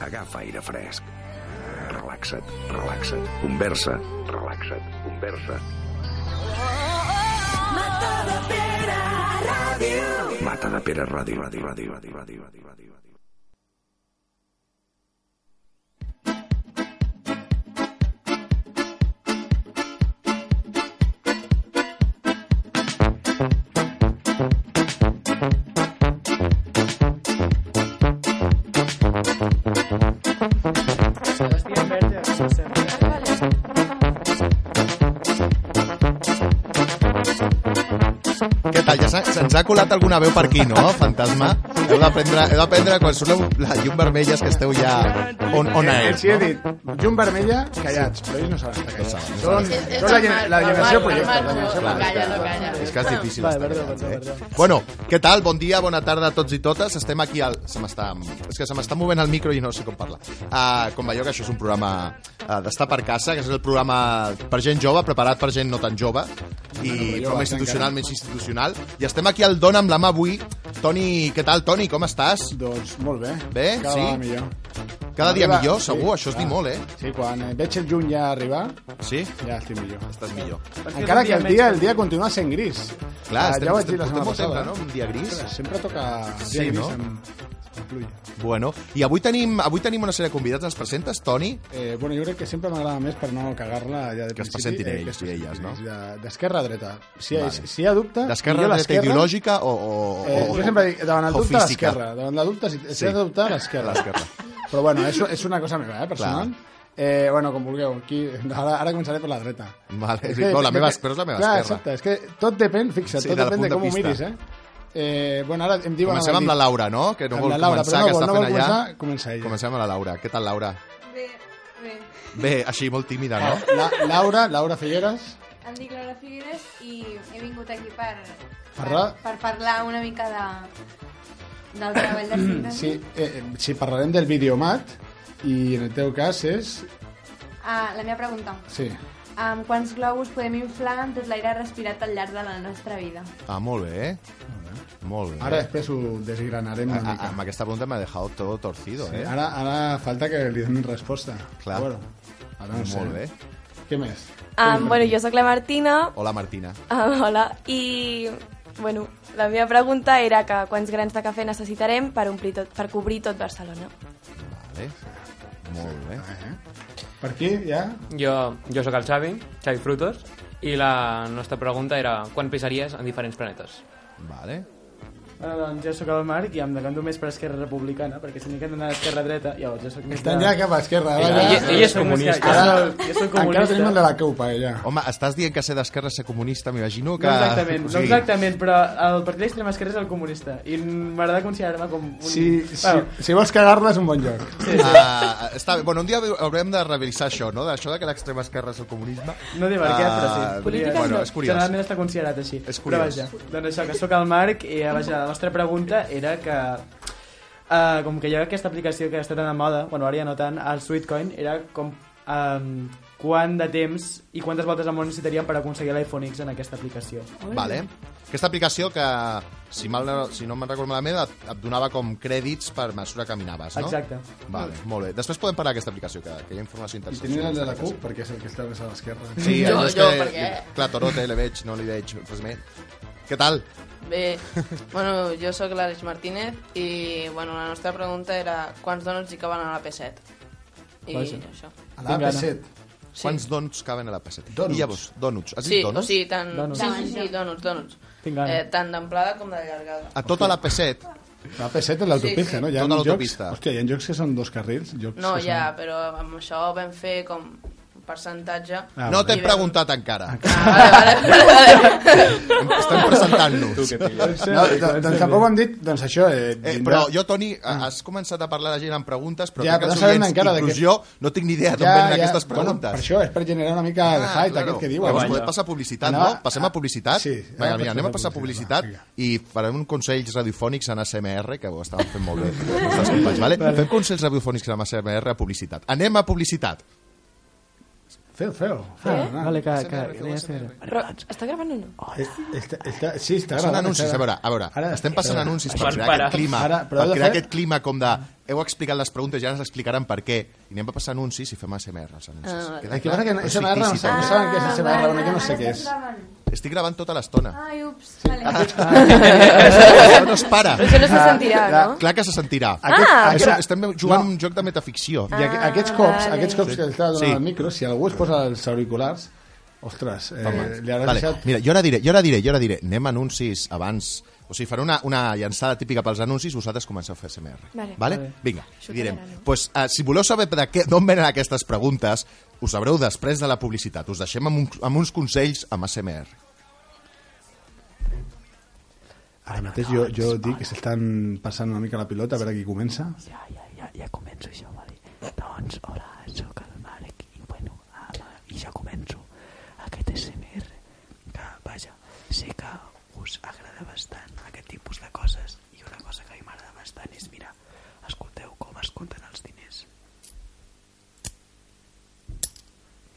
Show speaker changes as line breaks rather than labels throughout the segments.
Agafa aire fresc. Relaxa't, relaxa't, conversa, relaxa't, conversa.
Mata de Pere Ràdio.
Mata de Pere Ràdio, ràdio, ràdio, ràdio, ràdio, ràdio, ràdio.
Què tal? Ja se- se'ns ha colat alguna veu per aquí, no, fantasma? Heu d'aprendre, heu d'aprendre quan surt la- la llum vermella és que esteu ja on, on
Eh,
és,
Els hi he
no?
dit, llum vermella, callats, però ells no saben estar callats.
saben, no
Són,
És- és
són la,
el
gener- la
Marc, el
generació
Marc,
projectes.
el
La
Marc,
generació projectes.
no, no calla, no calla.
És que és difícil
Vale,
estar
perdó,
callats,
perdó,
eh? Bueno, què tal? Bon dia, bona tarda a tots i totes. Estem aquí al... Se m'està... És que se m'està movent el micro i no sé com parlar. Uh, com veieu que això és un programa uh, d'estar per casa, que és el programa per gent jove, preparat per gent no tan jove, i forma institucional, menys institucional. I estem aquí al Dona amb la mà avui. Toni, què tal, Toni? Com estàs?
Doncs molt bé.
Bé,
Cada
sí?
vegada millor.
Cada dia
Arriba, sí,
millor,
Ah.
segur, això és dir
clar.
molt, eh?
Sí, quan eh, veig el juny ja arribar,
Sí?
ja estic millor.
Estàs millor.
Encara que el dia, el dia continua sent gris.
Clar,
Ah,
estem,
ja ho vaig
estem,
dir la
estem
setmana
molt
passada.
sempre, no? Un dia gris.
Ostres, Sempre toca
Sí,
dia gris
no?
amb, amb pluja.
Bueno, i avui tenim, avui tenim una sèrie de convidats. Ens presentes, Toni?
Eh, bueno, jo crec que sempre m'agrada més per no cagar-la ja de
Que es
principi,
presentin
eh,
ells
que es
i elles,
presentin
no?
ells, de- D'esquerra a dreta. Si, hi ha-
Vale.
si hi ha dubte...
D'esquerra,
Ah, millor
dreta ideològica o... o,
Eh,
o
jo sempre dic, davant el
o
dubte, a
física?
l'esquerra. Davant el dubte, si, si
Sí.
has de dubtar, a l'esquerra.
A l'esquerra.
Però bueno, és, és una cosa meva, eh, personal. Eh, bueno, com vulgueu. Aquí, ara, ara començaré per la dreta.
Vale,
És
sí, no, la meva- però és la meva
clar,
esquerra.
Exacte, és que tot depèn, fixa't,
Sí,
tot
del
depèn
punt
de
de
com ho
vista.
miris, eh? Eh, bueno, ara em diuen...
Comencem
al
amb la
dit-
Laura, no? Que no
Amb
vol
la Laura,
començar,
però no
que
vol-
està
no
fent
vol
allà.
començar, comença ella.
Comencem amb la Laura. Què tal, Laura?
Bé, bé.
Bé, així, molt tímida, no?
Ah, La, Laura, Laura Figueres.
Em dic Laura Figueres i he vingut aquí per,
Parlar?
per, per parlar una mica de, del treball de síntesi.
Sí, eh, eh, si parlarem del videomat, i en el teu cas és...
Ah, la meva pregunta.
Sí,
Amb quants globus podem inflar amb tot l'aire respirat al llarg de la nostra vida?
Ah, molt bé. Molt bé.
ara després ho desgranarem
Ah,
una
ah,
mica.
amb aquesta pregunta m'ha deixat todo torcido,
Sí,
eh?
ara, ara falta que li donin resposta.
Clar.
Bueno, ara no ho sé.
Molt bé.
Què més?
Ah.
Um, bueno, jo sóc la Martina.
Hola, Martina.
Um, hola. I, bueno, la meva pregunta era que quants grans de cafè necessitarem per, omplir tot, per cobrir tot Barcelona.
Vale. Molt bé.
Per aquí, ja?
Jo, jo sóc el Xavi, Xavi Frutos, i la nostra pregunta era quan pesaries en diferents planetes?
Vale.
Bueno, doncs jo sóc el Marc i em decanto més per Esquerra Republicana, perquè si n'hi que anar a Esquerra Dreta, llavors jo sóc més
Estan ja cap a esquerra.
Ella-
Ara, ja,
ella- ella és comunista.
Ara,
Ara,
jo sóc
encara
comunista.
tenim el de la CUP, eh, ja.
Home, estàs dient que ser d'esquerra és ser comunista, m'imagino que...
No exactament,
O
no
sigui,
exactament, però el partit d'extrema esquerra és el comunista i m'agrada considerar-me com un...
Si, si,
Bueno,
si vols cagar-la és un bon lloc.
Ah, està bé. Bueno, un dia haurem de revisar això, no? D'això de que l'extrema esquerra és el comunisme.
no dir per què,
Ah,
però sí. Podria-
bueno, és curiós.
Generalment està considerat així.
És curiós.
Però vaja, doncs això, que sóc el Marc i eh, vaja, la nostra pregunta era que... Uh, com que hi ha aquesta aplicació que està tan de moda, bueno, ara ja no tant, el Sweetcoin, era com... Um, quant de temps i quantes voltes al món necessitaríem per aconseguir l'iPhone X en aquesta aplicació.
Vale. Aquesta aplicació que, si, mal no, si no me'n recordo malament, et, et donava com crèdits per mesura que caminaves, no?
Exacte.
Vale, molt bé. Després podem parar aquesta aplicació, que, que hi ha informació
I
interessant.
teniu el de la CUP, perquè és el que està més a l'esquerra.
Sí,
Jo-
allò és
jo,
que-
perquè-
Clar, Torote, le veig, no li veig, res més. Què tal?
Bé, bueno, jo sóc l'Àlex Martínez i bueno, la nostra pregunta era quants donuts hi caben a la P7? I
Vaja. Ah,
això.
A E la AP7.
Sí. Quants donuts caben a la passeta?
Donuts.
I llavors, donuts. Has dit
Sí, o
donuts?
sigui, tant...
Donuts.
Sí, sí, sí, donuts, donuts.
Tinc gana. Ah,
Eh, tant d'amplada com de llargada.
A tota la P7,
E La AP7 és l'autopista,
Sí, sí.
no? Hi ha
Tota
uns jocs...
l'autopista.
Hòstia, hi ha jocs que són dos carrils. Jocs
No,
que
ja, però amb això vam fer com un percentatge.
Ah,
no
vale.
t'hem preguntat encara.
Ah, vale, vale, vale.
Estem presentant-nos.
Són... No, doncs, doncs tampoc ho hem dit, doncs això... Eh,
Eh,
vindrà-
però jo, Toni, ha- has començat a parlar de gent amb preguntes, però
Ja,
crec que
però
els
no sabem
oients,
encara de què-
inclús jo, no tinc ni idea d'on venen aquestes preguntes. Ah,
Bueno, per això, és per generar una mica de hype,
claro.
aquest que eh? diuen.
Llavors podem passar a publicitat,
Anava-
no? Passem a publicitat?
Sí.
Vinga, mira, anem a passar a
publicitat,
publicitat
va,
i farem uns consells radiofònics en ASMR, que ho estàvem fent molt bé. els nostres companys, vale? Fem consells radiofònics en ASMR a publicitat. Anem a publicitat.
Feo, feo. feo
¿Eh?
no.
Vale, que, que, que,
Però està gravant o no?
Eh, Està, està, sí, està
Són
agradant,
anuncis,
està
a veure,
agradant.
a veure,
Ara-
estem passant
Espera.
anuncis per
Quan
crear
para.
aquest clima,
Ara, però
per
heu de
crear
fer-
aquest clima com de heu explicat les preguntes i ara ens explicaran per què. I anem a passar anuncis i fem ASMR als anuncis.
Ah,
Queda
Aquí passa que no,
Però és
SMR no,
fictici,
sé, no
tot.
saben què és SMR,
Ah, vale,
una que no sé
ara
què és.
estem gravant.
Ah.
Estic gravant tota l'estona.
Ah.
Ai, ups, vale. Ah,
Això no es para.
Però això no se sentirà,
clar.
no?
Clar que se sentirà.
Aquest-
Ah,
Això,
aquest-
estem jugant
no.
un joc de metaficció.
I aqu-
Ah,
aquests cops,
vale.
aquests cops que estava donant
Sí.
el micro, si algú es posa els auriculars, ostres, eh, li hauràs
Vale.
deixat...
Mira, jo ara diré, jo ara diré, jo ara diré. Anem a anuncis abans... O sigui, faré una, una llançada típica pels anuncis, vosaltres comenceu a fer SMR.
Vale.
vale? Vinga,
Això
i direm.
quedarà, no?
Pues, uh, si voleu saber de què, d'on venen aquestes preguntes, ho sabreu després de la publicitat. Us deixem amb, un, amb uns consells amb ASMR.
Ara mateix jo, jo dic que s'estan passant una mica la pilota, a veure qui comença.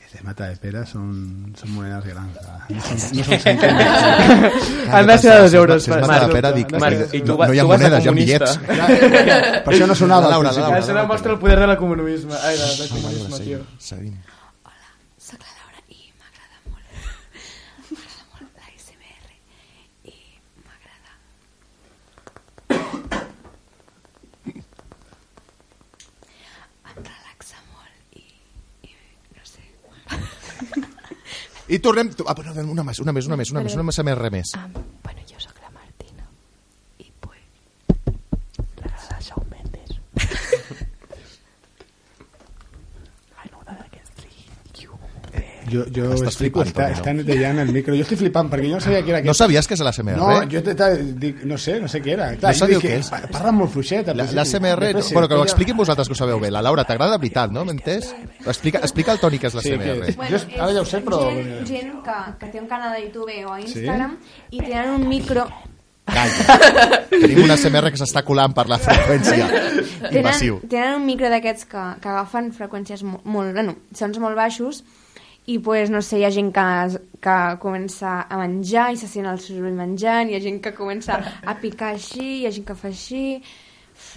Ese mata de pera són, són monedes grans. eh? No són, no són cèntims.
Han de ser de dos euros.
Si es mata la pera, dic,
Marc, i tu
no,
va-
no hi ha
tu vas de
monedes, hi ha
comunista.
bitllets.
Per això no sonava.
La Laura,
al principi.
la Laura.
Això demostra el poder de l'economisme. Ai, de, de comunisme, tio.
Seguim, seguim.
Soc la Laura i m'agrada molt m'agrada molt la SMR i m'agrada em relaxa molt i, i no sé
I tornem... Ah, però una més, una més, una més, una més, una més, ASMR
Ah.
més.
um, bueno, jo sóc la Martina i pues t'agrada Shawn Mendes en una d'aquests
Jo, jo
Estàs
estic,
flipant,
està,
Romero.
està netejant el micro. Jo estic flipant perquè jo no sabia què era
No
aquest.
sabies que és l'ASMR?
No, jo te, te, dic, no sé, no sé què era. Clar,
No
jo
sabíeu
dic
què
que
és.
pa- Parla molt fluixet. al
La-
principi.
L'ASMR,
Després sí,
bueno, que ho
jo-
expliquin vosaltres que ho sabeu bé. La Laura, t'agrada de veritat, no? M'he entès? Explica, explica el tònic que és
Sí,
l'ASMR.
que- Jo ara ja ho sé, però-
Gent, gent que, que té un canal de YouTube o Instagram i tenen un micro...
Tenim un ASMR que s'està colant per la freqüència. Invasiu.
Tenen, tenen un micro d'aquests que, que agafen freqüències mo- molt... Bueno, sons molt baixos i, pues, no sé, hi ha gent que, es- que comença a menjar i se sent el soroll menjant, hi ha gent que comença a picar així, hi ha gent que fa així...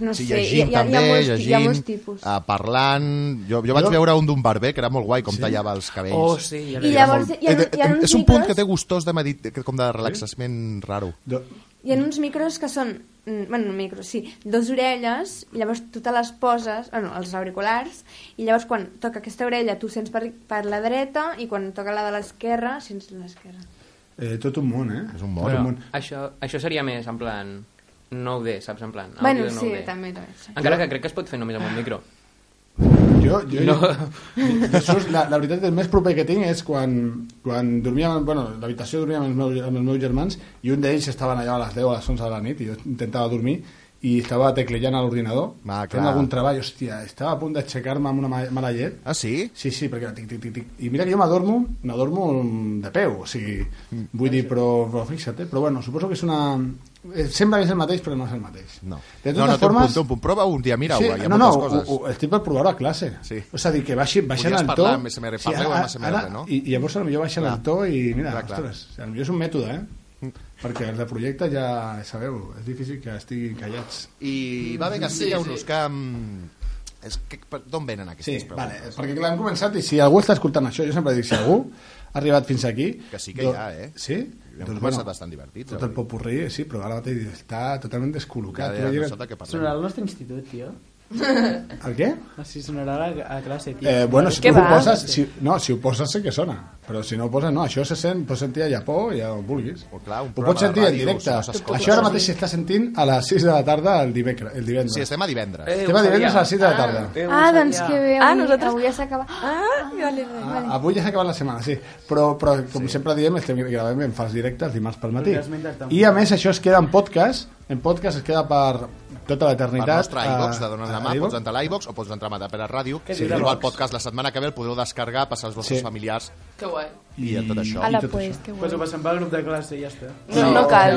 No
Sí,
sé,
llegim
hi,
també,
ha ah. molts, hi ha
llegim,
molts tipus.
eh, parlant... Jo, jo vaig
Jo-
veure un d'un barber que era molt guai, com tallava els cabells.
Oh, sí, ja
I
l'he
llavors hi ha,
Eh,
hi ha
eh,
uns
és un punt que
micros-
té gustós de medit... que- com de relaxament raro.
Do-
Hi ha uns micros que són, mm, bueno, no micros, sí, dos orelles, i llavors tu te les poses, bueno, els auriculars, i llavors quan toca aquesta orella tu sents per, per la dreta i quan toca la de l'esquerra sents l'esquerra.
Eh, tot un món, eh?
És un món.
Tot
Però
un món.
això, això seria més en plan 9D, saps? En plan,
Bueno,
àudio
sí,
9D.
també, també. Sí.
Encara que crec que es pot fer només amb un micro.
Jo, jo,
No.
jo surt, la, la veritat, el més proper que tinc és quan, quan dormíem, amb- bueno, a l'habitació dormíem amb els, meus, amb els meus germans i un d'ells estaven allà a les 10 o a les 11 de la nit i jo intentava dormir i estava teclejant a l'ordinador
Ah, clar.
fent algun treball, hòstia, estava a punt d'aixecar-me amb una ma- mala llet
Ah, sí?
Sí, sí, perquè tic, tic, tic, tic. I mira que jo m'adormo, m'adormo de peu, o sigui,
Mm.
vull dir, però, però fixa't, eh? però bueno, suposo que és una... eh, Sembla que és el mateix, però no és el mateix.
No.
De totes
no, no, té un
formes...
punt, té un punt. Prova un dia, mira-ho,
sí,
hi ha
no, no,
moltes coses.
ho, ho, estic per provar-ho a classe.
Sí.
O sigui, que baixi, baixant
Podries
el to...
parlar amb SMR, parleu amb SMR, no?
I, I llavors potser baixen
Clar.
el to i mira,
Clar, clar.
ostres, potser és un mètode, eh? Perquè els de projecte ja sabeu, és difícil que estiguin callats. Mm,
I va bé que estigueu-nos sí, sí. que... mm, És que per- d'on venen
Sí,
aquestes
vale,
preguntes?
perquè clar, hem començat i si algú està escoltant això, jo sempre dic, si algú ha arribat fins aquí...
Que sí que hi ha, eh?
Sí? Doncs
Hem començat bastant divertits,
Tot el
avui.
popurrí, sí, però ara mateix està totalment descol·locat.
Cada
Tu
dia no
imagina't-
sap de què parlem.
Sonarà al nostre institut, tio.
El què?
Ah, sí, sonarà a, la- a classe, tio.
Eh, bueno, si
Què
tu ho
va?
poses, si, no, si ho poses sé que sona, però si no ho poses no, això se sent, pots sentir a Japó i on vulguis.
O clar, un
ho
programa
pots sentir
de
en
ràdio,
directe.
si no s'escolta.
això ara mateix s'està sentint a les 6 de la tarda el divendres. El divendres.
Sí, estem a divendres. Eh.
estem a divendres a les 6 de la tarda.
Ah, doncs que bé, avui,
Ah,
ah,
nosaltres-
nosaltres... avui ja s'acaba.
Ah, vale, vale.
Ah, avui ja s'ha acabat la setmana, sí. Però, però com sí. sempre diem, estem gravem en fals directes dimarts per matí.
Perquè els menys estan-
I a més, això es queda en podcast. En podcast es queda per tota
Per
l'eternitat.
nostre
a-
iVox de Donald
a
Demà,
iVox.
pots entrar a l'iVox o pots entrar a Matapera Ràdio.
Què
Sí,
diu
el
l'iVox?
podcast la setmana que ve el podreu descargar, passar als vostres
Sí.
sí. familiars
Que guai.
i, i tot això.
Ala,
tot
pues,
això.
que
Pues
guai.
ho passem pel grup de classe i ja està.
No, no cal.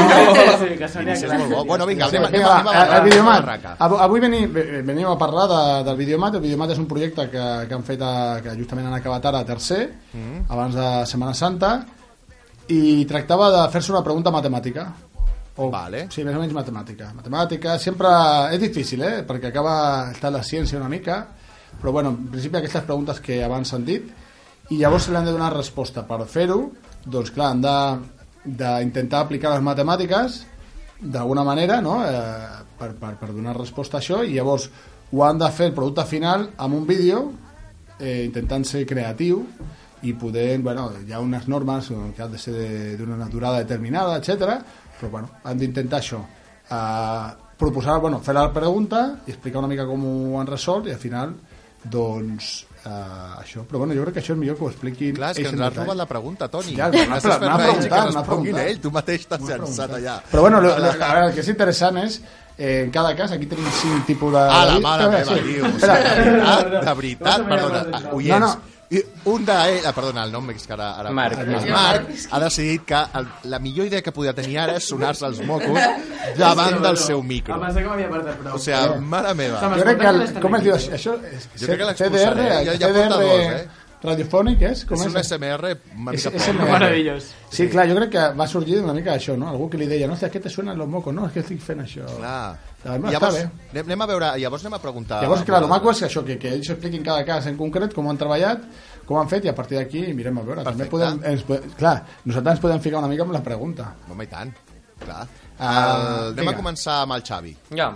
Sí, que
I
soni a
és molt bo.
classe.
Bueno, vinga, anem, anem,
Vinga,
anem,
va,
a
a- a
la
Videomat.
barraca.
Av- Avui veni- ve- venim a parlar de, del Videomat. El Videomat és un projecte que, que han fet, a, que justament han acabat ara a tercer,
Mm.
abans de Setmana Santa, i tractava de fer-se una pregunta matemàtica. O, vale. Sí, més o menys matemàtica. Matemàtica sempre és difícil, eh? Perquè acaba estar la ciència una mica, però bueno, en principi aquestes preguntes que abans han dit, i llavors se li han de donar resposta. Per fer-ho, doncs clar, han de- d'intentar aplicar les matemàtiques d'alguna manera, no?, eh, per, per, per donar resposta a això, i llavors ho han de fer el producte final amb un vídeo, eh, intentant ser creatiu, i poder, bueno, hi ha unes normes eh, que han de ser de- d'una durada determinada, etc. però bueno, han d'intentar això. Eh, proposar, bueno, fer la pregunta i explicar una mica com ho han resolt i al final, doncs, eh, això. Però bueno, jo crec que això és millor que ho expliquin
Clar, és que
ells en
ens l'ha
detall.
robat la pregunta, Toni.
Ja, m'ha
Estàs fent
m'ha
una ells i
preguntat,
que
m'ha
responguin
preguntat.
ell, tu mateix t'has llançat allà.
Però bueno, lo, lo, a veure, el que és interessant és eh, en cada cas, aquí tenim cinc tipus de...
Ah, la mare
Espera,
meva,
sí.
tio. o sigui,
Espera. Ah,
De veritat, de veritat, perdona, ah, oients.
No,
No,
no.
Un d'ells, ah, perdona, el nom és que ara... ara
Marc.
El Marc ha decidit que el, la millor idea que podia tenir ara és sonar-se els mocos davant del seu micro.
Em Ah, pensava que m'havia apartat prou.
O sigui, mare meva.
Jo crec que... El, com es diu això? això Eh, és,
Jo crec que
CDR,
l'expulsaré. Ja, ja porta
CDR
dos, eh?
radiofònic, és? Com
És
és?
un SMR una
És,
mica
és
pobre.
Meravellós.
Sí, clar, jo crec que va sorgir una mica això, no? Algú que li deia, no, és que te suenen los mocos, no, és que estic fent això.
Clar.
La veritat,
Llavors,
està
anem, anem a veure, llavors anem a preguntar...
Llavors, clar, el maco és això, que, que ells expliquin cada cas en concret, com han treballat, com han fet, i a partir d'aquí mirem a veure. També
Perfecte.
podem, ens, podem- clar, nosaltres ens podem ficar una mica amb la pregunta.
Home, i tant, clar. Uh,
Ah,
anem
vinga.
a començar amb el Xavi.
Ja.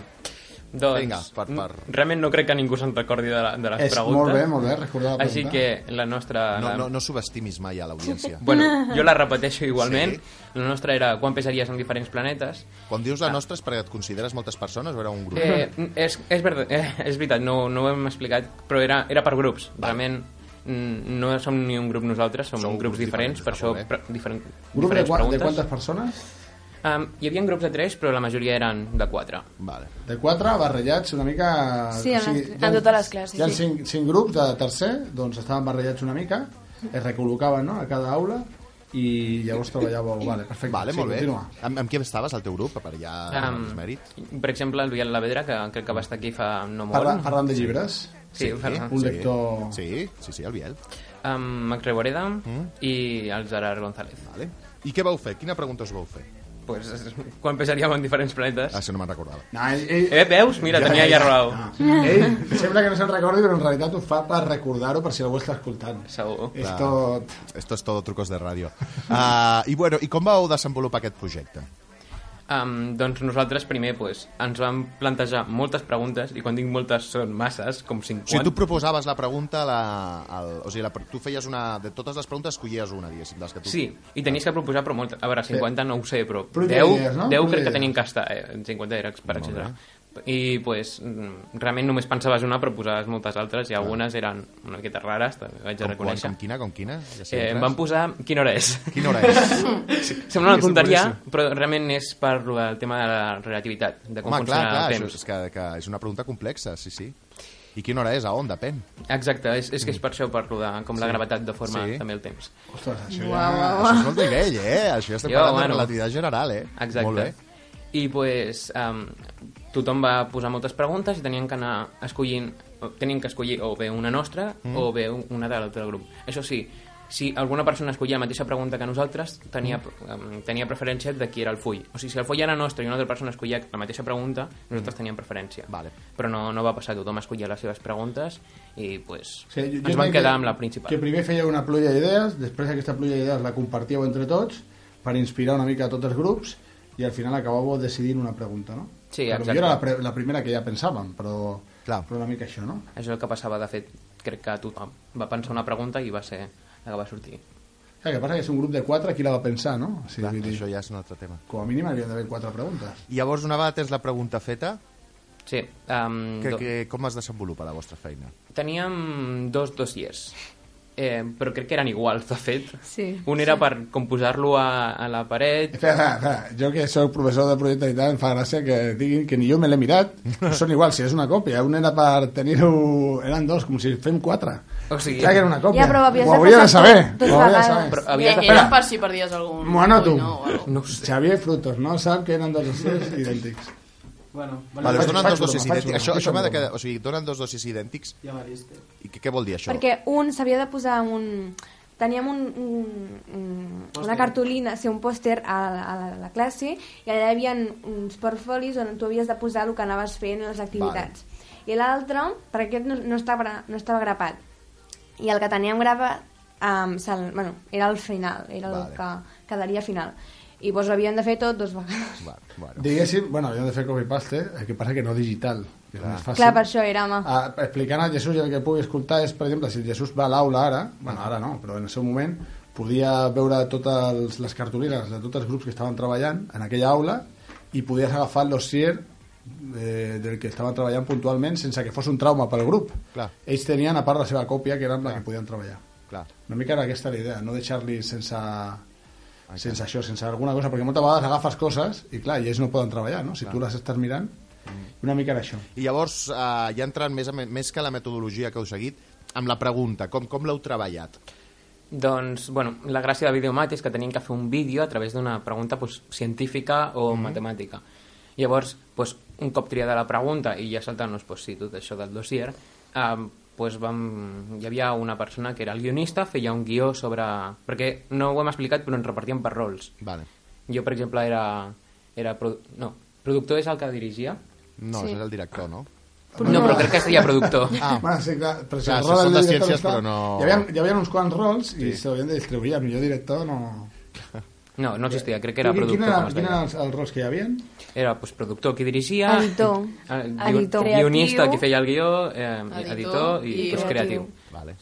Doncs,
Vinga, per- per-
realment no crec que ningú se'n recordi de, la, de les
És
preguntes.
molt bé, molt bé, recordar la
Així
pregunta.
que la nostra...
No,
la...
no, no subestimis mai a l'audiència.
Bueno, jo la repeteixo igualment.
Sí.
Sí. La nostra era quan pesaries en diferents planetes.
Quan dius la nostra és perquè et consideres moltes persones o era un grup?
Ah. Eh, és, és, verdad, eh, és veritat, no, no ho hem explicat, però era, era per grups. Va. Realment mm, no som ni un grup nosaltres, som,
Sou
grups,
grups
diferents,
diferents,
per
està
això
molt bé.
pre diferent,
Grup de,
diferents
qua, de
preguntes.
quantes persones?
Um, hi havia grups de 3, però la majoria eren de 4.
Vale.
De quatre, barrejats una mica...
Sí, amb les-
hi ha-
amb totes les classes,
Hi ha
sí.
cinc, cinc grups de tercer, doncs estaven barrejats una mica, es recol·locaven no? a cada aula, i llavors treballàveu... Vale, perfecte.
Vale,
sí,
molt bé.
Continua.
Amb, amb qui estaves al teu grup, per allà um,
Am,
els mèrits?
per exemple, el Biel Lavedra, que crec que va estar aquí fa no molt.
Parla, parlant de llibres,
Sí, parla.
un lector-
Sí, sí, sí, el Biel.
amb Max Reboreda i el Gerard González.
Vale. I què vau fer? Quina pregunta us vau fer?
Pues, és- quan pesaríem en diferents planetes?
Ah, si no me'n recordava.
No, ell, ell,
Eh, veus? Mira, tenia ja raó.
No. Ell sembla que no se'n recordi, però en realitat ho fa per recordar-ho per si algú està escoltant.
Segur.
És tot...
Esto es todo trucos de ràdio. Uh, I bueno, i com vau desenvolupar aquest projecte?
Um, doncs nosaltres primer pues, ens vam plantejar moltes preguntes i quan dic moltes són masses, com
O sigui,
50.
tu proposaves la pregunta, la, el, o sigui, la, tu feies una... De totes les preguntes, escollies una, diguéssim, les que tu...
Sí, i tenies que proposar però moltes. A veure, 50 no ho sé, però
Però
10,
idees, no?
10
Però
crec que
idees.
tenien que estar. Eh? 50 era per etc. I pues, mm, realment només pensaves una però posaves moltes altres i algunes eren una miqueta rares, també vaig a
Com, com,
reconèixer.
com quina, com quina? Ja sé,
Eh, em
entres.
van posar quina hora és.
Quina hora és?
Sembla
Sí,
una tonteria,
boníssim.
però realment és per lo del tema de la relativitat, de com
Home, clar,
funciona
clar,
el
això
temps.
és, que, que és una pregunta complexa, sí, sí. I quina hora és? A on? Depèn.
Exacte, és, és que és per això, per lo de com la gravetat de forma
Mm. Sí.
també el temps.
Ostres, això
Això és molt nivell, eh? Això ja estem
Jo,
parlant de
bueno.
relativitat general, eh?
Exacte.
Molt bé.
I pues, um, tothom va posar moltes preguntes i tenien que anar escollint, o tenien que escollir o bé una nostra mm. o bé una de l'altre grup. Això sí, si alguna persona escollia la mateixa pregunta que nosaltres, tenia, mm. um, tenia preferència de qui era el full. O sigui, si el full era nostre i una altra persona escollia la mateixa pregunta, nosaltres teníem preferència.
Mm. Vale.
Però no, no va passar, tothom escollia les seves preguntes i pues,
O sigui,
ens vam
crec
quedar
que-
amb la principal.
Que primer fèieu una pluja d'idees, després aquesta pluja d'idees la compartíeu entre tots per inspirar una mica a tots els grups i al final acabàveu decidint una pregunta, no?
Sí,
Però
exacte.
Jo era la, pre la primera que ja pensàvem, però,
Clar.
però una mica això, no?
Això és el que passava, de fet, crec que tothom va pensar una pregunta i va ser la que va sortir.
Clar, que passa que és un grup de quatre, qui la va pensar, no? O sigui,
Clar,
vull dir,
això ja és un altre tema.
Com a mínim havia d'haver quatre preguntes.
I llavors, una vegada tens la pregunta feta,
Sí, um,
que,
do...
que, com es desenvolupa la vostra feina?
teníem dos dossiers, eh, però crec que eren iguals, de fet.
Sí,
Un era per composar-lo a, a la paret,
Espera, espera, espera. Jo que sóc professor de projecte i tal, em fa gràcia que diguin que ni jo me l'he mirat. Són igual, si és una còpia. Un era per tenir-ho... Eren dos, com si fem quatre.
O sigui-
Clar que era una còpia.
Ja, però ho havies
ho
de
hauria de
passar
saber.
tot- tot
ho hauria de
vegades.
saber.
però
Però...
havia
Mira,
de...
que era per si perdies algun...
Bueno, tu.
ull, No, o algo.
No ho sé.
Xavier Frutos no sap que eren dos dossiers idèntics.
Bueno, bueno
Vale, us
faig-
donen
faig
dos
broma,
dossiers
faig
idèntics.
broma,
Això,
faig
això m'ha de
broma.
quedar... O sigui, donen dos dossiers idèntics.
ja m'ha vist.
I què, què vol dir això?
Perquè un s'havia de posar en un, teníem un, un, un, una cartolina, sí, un pòster a, la- a, la, a la classe i allà hi havia uns portfolis on tu havies de posar el que anaves fent en les activitats. Vale. I l'altre, perquè aquest no, no, estava, gra- no estava grapat, i el que teníem gravat um, se'l, bueno, era el final, era el
Vale.
vale. que quedaria final. I doncs ho havíem de fer tot dos vegades.
Va, bueno.
Diguéssim, bueno, havíem de fer copy-paste, el que passa que no digital, que és més fàcil.
Clar, per això era, home.
Ah, explicant a Jesús i el que pugui escoltar és, per exemple, si el Jesús va a l'aula ara, bueno, ara no, però en el seu moment podia veure totes les cartolines de tots els grups que estaven treballant en aquella aula i podies agafar el dossier eh, del que estaven treballant puntualment sense que fos un trauma pel grup.
Clar.
Ells tenien a part la seva còpia que era amb la que podien treballar.
Clar.
Una mica era aquesta la idea, no deixar-li sense, sense això, sense alguna cosa, perquè moltes vegades agafes coses i clar, i ells no poden treballar, no? Si tu les estàs mirant, una mica era això.
I llavors, eh, ja entrant més, a me- més que la metodologia que heu seguit, amb la pregunta, com, com l'heu treballat?
Doncs, bueno, la gràcia de Videomat és que tenien que fer un vídeo a través d'una pregunta pues, científica o mm -hmm. matemàtica. Llavors, pues, un cop triada la pregunta i ja saltant-nos pues, sí, tot això del dossier, eh, pues, vam... hi havia una persona que era el guionista, feia un guió sobre... Perquè no ho hem explicat, però ens repartíem per rols.
Vale.
Jo, per exemple, era... era produ... No, productor és el que dirigia.
No,
Sí.
sí. és el director, no?
No, però crec que seria productor.
Ah.
Ah, bueno, sí, clar, però si
Clar,
el
això
rol
són
del
les
director
ciències,
està-
però no-
Hi havia, hi havia uns quants rols i sí. s'havien de distribuir. El millor director no...
No, no existia, crec que era
Quin-
productor.
Quin era,
com es
quin
deia.
era els, els rols que hi havia?
Eh,
Era pues, productor qui dirigia,
Editor.
el
Editor.
guion- guionista
Creatiu.
qui feia el guió, eh, editor,
Editor
i,
i
pues, creatiu.
creatiu.
Vale.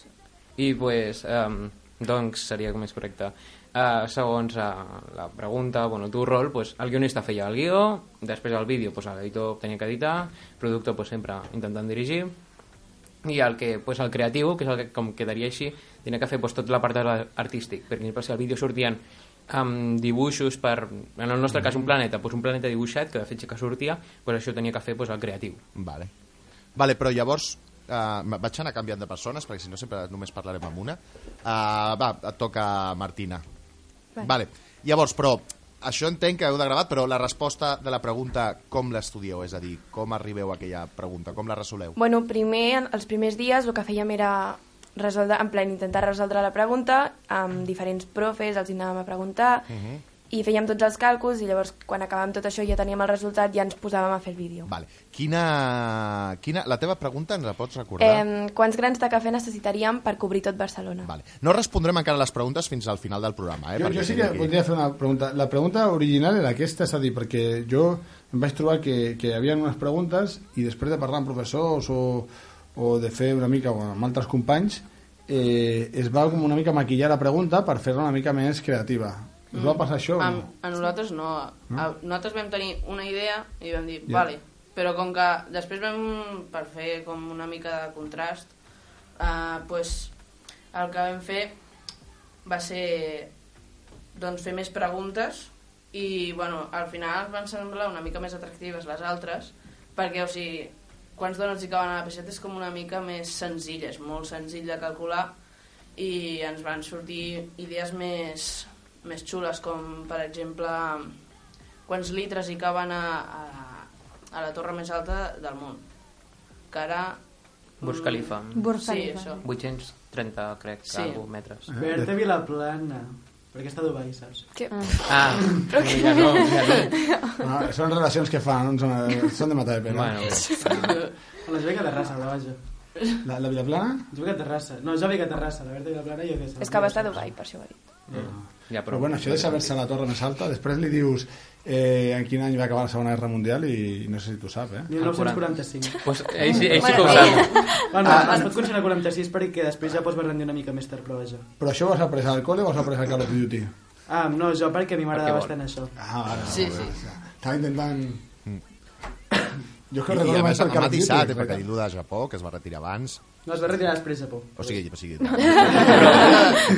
I pues, um, doncs seria com més correcte. Uh, segons uh, la pregunta, bueno, el teu rol, pues, el guionista feia el guió, després el vídeo pues, l'editor tenia que editar, productor pues, sempre intentant dirigir, i el, que, pues, el creatiu, que és el que com quedaria així, tenia que fer pues, tot l'apartat artístic. Per exemple, si al vídeo sortien amb dibuixos per, en el nostre cas, un planeta, pues, un planeta dibuixat, que de fet sí que sortia, pues, això tenia que fer pues, el creatiu.
Vale. Vale, però llavors uh, vaig anar canviant de persones, perquè si no sempre només parlarem amb una. Uh, va, et toca Martina. Vale. vale. Llavors, però, això entenc que heu de gravar, però la resposta de la pregunta com l'estudieu, és a dir, com arribeu a aquella pregunta, com la resoleu?
Bueno, primer, en- els primers dies el que fèiem era resoldre, en plan, intentar resoldre la pregunta amb diferents profes, els hi anàvem a preguntar, uh
Mhm.
-huh. i fèiem tots els càlculs, i llavors quan acabàvem tot això i ja teníem el resultat, ja ens posàvem a fer el vídeo.
Vale. Quina, quina... La teva pregunta ens la pots recordar?
Eh, quants grans de cafè necessitaríem per cobrir tot Barcelona?
Vale. No respondrem encara les preguntes fins al final del programa, eh?
Jo,
perquè
jo sí
tinc
que voldria fer una pregunta. La pregunta original era aquesta, és a dir, perquè jo em vaig trobar que, que hi havia unes preguntes i després de parlar amb professors o, o de fer una mica bueno, amb altres companys, eh, es va com una mica maquillar la pregunta per fer-la una mica més creativa. Us
Mm.
va passar això? o
A,
no? Mm.
a nosaltres no. A, nosaltres vam tenir una idea i vam dir,
Ja.
vale, però com que després vam, per fer com una mica de contrast, eh, pues, el que vam fer va ser doncs, fer més preguntes i bueno, al final van semblar una mica més atractives les altres perquè o sigui, quants dones hi caben a la peixeta és com una mica més senzilla, és molt senzill de calcular i ens van sortir idees més, més xules com per exemple quants litres hi caben a, a, a la torre més alta del món que ara mm,
Burj Khalifa,
Burj
sí,
Khalifa.
això.
830, crec,
Sí.
sí. algo, metres.
Ah,
Berta Vilaplana. Perquè està a Dubai, saps?
Que...
Ah, mira, no, mira, no.
Ah, són relacions que fan, són, eh, són de matar de pena.
Bueno,
Bueno, jo veig a Terrassa, però vaja.
La, la Vilaplana?
Jo veig a Terrassa. No, jo veig a Terrassa. La Berta Vilaplana i jo que sé.
És que va estar a Dubai, per això ho he dit.
ja,
Però bueno, això de saber-se la torre més alta, després li dius eh, en quin any va acabar la Segona Guerra Mundial i no sé si tu saps, eh?
1945.
Pues, ell, sí- ell sí que ho sap.
Bueno, ah, es pot considerar 46 perquè després ja pots rendir una mica més tard, però vaja.
Però això ho has après al col·le o ho has après al Call of Duty?
Ah, no, jo perquè a mi
Perquè
m'agrada
vol.
bastant això.
Ah, ara,
Sí,
molt bé.
sí.
Estava intentant... Jo és que
Mm. I, i
recordo
a
més
més,
el
ha
Call of
matisat, eh,
Duty.
perquè ha dit
perquè-
allò de Japó, que es va retirar abans.
No, es va retirar després, a por.
O sigui, o sigui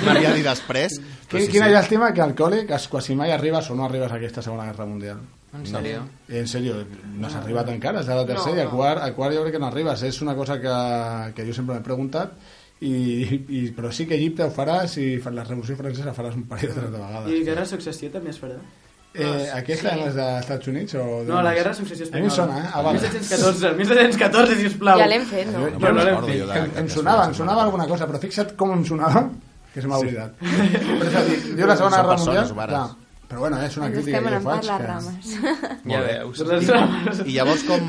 m'havia dit després. però
Quin- Quina llàstima que al col·le que quasi mai arribes o no arribes a aquesta Segona Guerra Mundial.
En sèrio.
En sèrio, no s'ha arribat encara, és a la tercera,
No,
i a
no.
quart, a quart jo crec que no arribes. És una cosa que, que jo sempre m'he preguntat, i, i, però sí que Egipte ho faràs i fa- la Revolució Francesa faràs un parell o tres de
I
vegades.
Guerra de Successió també es farà?
Eh, aquesta no és dels Estats Units? O
No,
doncs.
la Guerra de Successió
A
espanyola.
mi em sona, eh? Ah, vale.
1714, 1714, sisplau.
Ja l'hem fet, no?
No
Jo
me'n
no
l'hem
recordo
fet.
jo de-
Em, em
d'aquestes
sonava, em
coses.
sonava alguna cosa, però fixa't com em sonava que se m'ha oblidat. Però és a dir, jo la segona
Són
guerra
persones
mundial...
humanes.
clar, però bueno, és una
Ens
crítica
estem
que jo
anant per
faig.
les
Que...
rames.
Ja veus.
I llavors, com,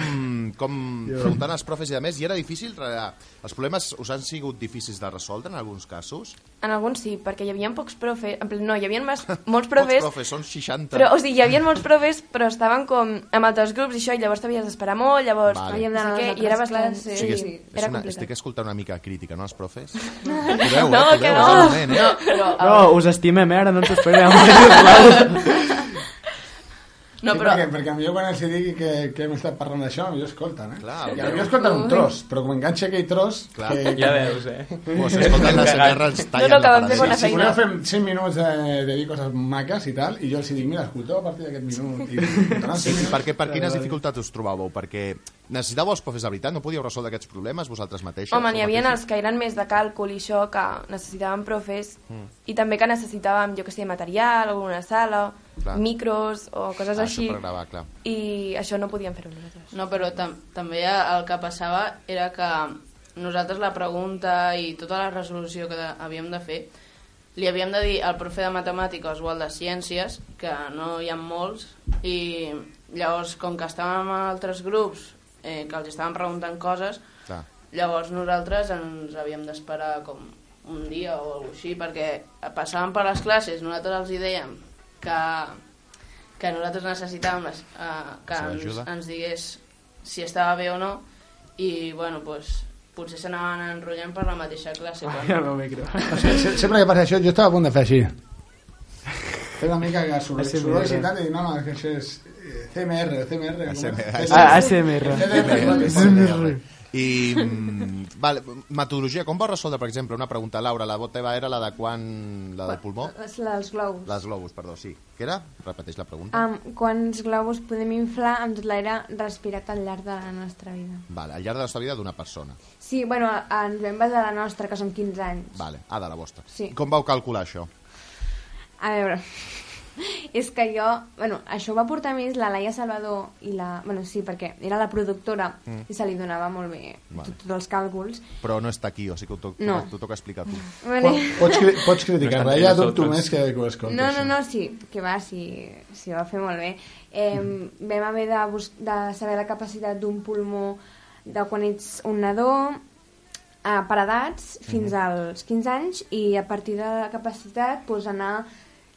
com preguntant als profes i a més, i era difícil... tra- Els problemes us han sigut difícils de resoldre en alguns casos?
En alguns sí, perquè hi havia pocs profes... En plan, No, hi havia mas, molts profes,
Pocs profes, són 60.
però, o sigui, hi havia molts profes, però estaven com amb altres grups i això, i llavors t'havies d'esperar molt, llavors...
Vale.
Havíem d'anar
no sé
a
què,
les
I era
altres
bastant...
classes.
Sí,
O
sí,
sigui, és
sí, era
una,
complicat.
estic escoltant una mica crítica, no, els profes? Podeu,
No,
eh?
que
Podeu,
no.
és el moment, eh?
No, us estimem, eh? Ara no ens ho esperem.
No,
sí,
però-
perquè, perquè potser quan els digui que, que hem estat parlant d'això, potser escolten, eh?
Clar,
I potser escolten un tros, però com enganxa aquell tros...
Clar.
Que,
Ja veus, eh?
O s'escolten les guerres, tallen
No, no, que
la
vam
paradeta.
fer bona
Si
feina.
voleu fer 100 minuts eh, de, de dir coses maques i tal, i jo els dic, mira, escolteu a partir d'aquest minut. I, no,
Sí, I per, què, per quines dificultats us trobàveu? Perquè necessitàveu els profes de veritat? No podíeu resoldre aquests problemes vosaltres mateixos?
Home, n'hi havia
mateixos?
els que eren més de càlcul i això, que necessitàvem profes,
Hmm.
mm. i també que necessitàvem, jo que sé, material, o una sala,
Clar.
Clar. micros o coses
Ah, això
així.
per gravar, clar.
I això no podíem fer-ho nosaltres.
No, però tam també el que passava era que nosaltres la pregunta i tota la resolució que de- havíem de fer li havíem de dir al profe de matemàtiques o al de ciències, que no hi ha molts, i llavors, com que estàvem amb altres grups eh, que els estàvem preguntant coses,
Clar.
llavors nosaltres ens havíem d'esperar com un dia o alguna així, perquè passàvem per les classes, nosaltres els hi dèiem que, que nosaltres necessitàvem les, eh, que
Seva
ens,
ajuda.
ens digués si estava bé o no, i bueno, pues, potser s'anaven enrotllant per la mateixa classe.
Ja
Quan...
no micro.
Sempre que passa això, jo estava a punt de fer així. Fer una mica que soroll,
ASMR.
sorolls i tal, i no, no, és que això és eh, CMR, CMR. com és?
Ah, ASMR.
Eh, CMR.
doncs, I, mm, vale, metodologia, com vau resoldre, per exemple, una pregunta, Laura, la teva era la de quan... la del pulmó?
Les, les globus.
Les globus, perdó, sí. Què era? Repeteix la pregunta.
Um, quants globus podem inflar amb tot l'aire respirat al llarg de la nostra vida?
Vale, al llarg de la seva vida d'una persona.
Sí, bueno, a- ens vam basar la nostra, que són 15 anys.
Vale. Ah, de la vostra.
Sí.
Com vau calcular això?
A veure, és que jo... Bueno, això ho va portar més la Laia Salvador i la... Bueno, sí, perquè era la productora mm. i se li donava molt bé
Vale.
vale. tots els càlculs.
Però no està aquí, o sigui que t'ho
No.
t'ho toca explicar tu.
Vale.
Pots, cri- pots criticar-la, ja dubto
Nosaltres.
més que que ho escolti.
No, no, no, sí, que va, sí, sí, ho va fer molt bé. Eh, vam haver de, bus- de saber la capacitat d'un pulmó de quan ets un nadó eh, per edats fins
Mhm.
als 15 anys i a partir de la capacitat pues, anar...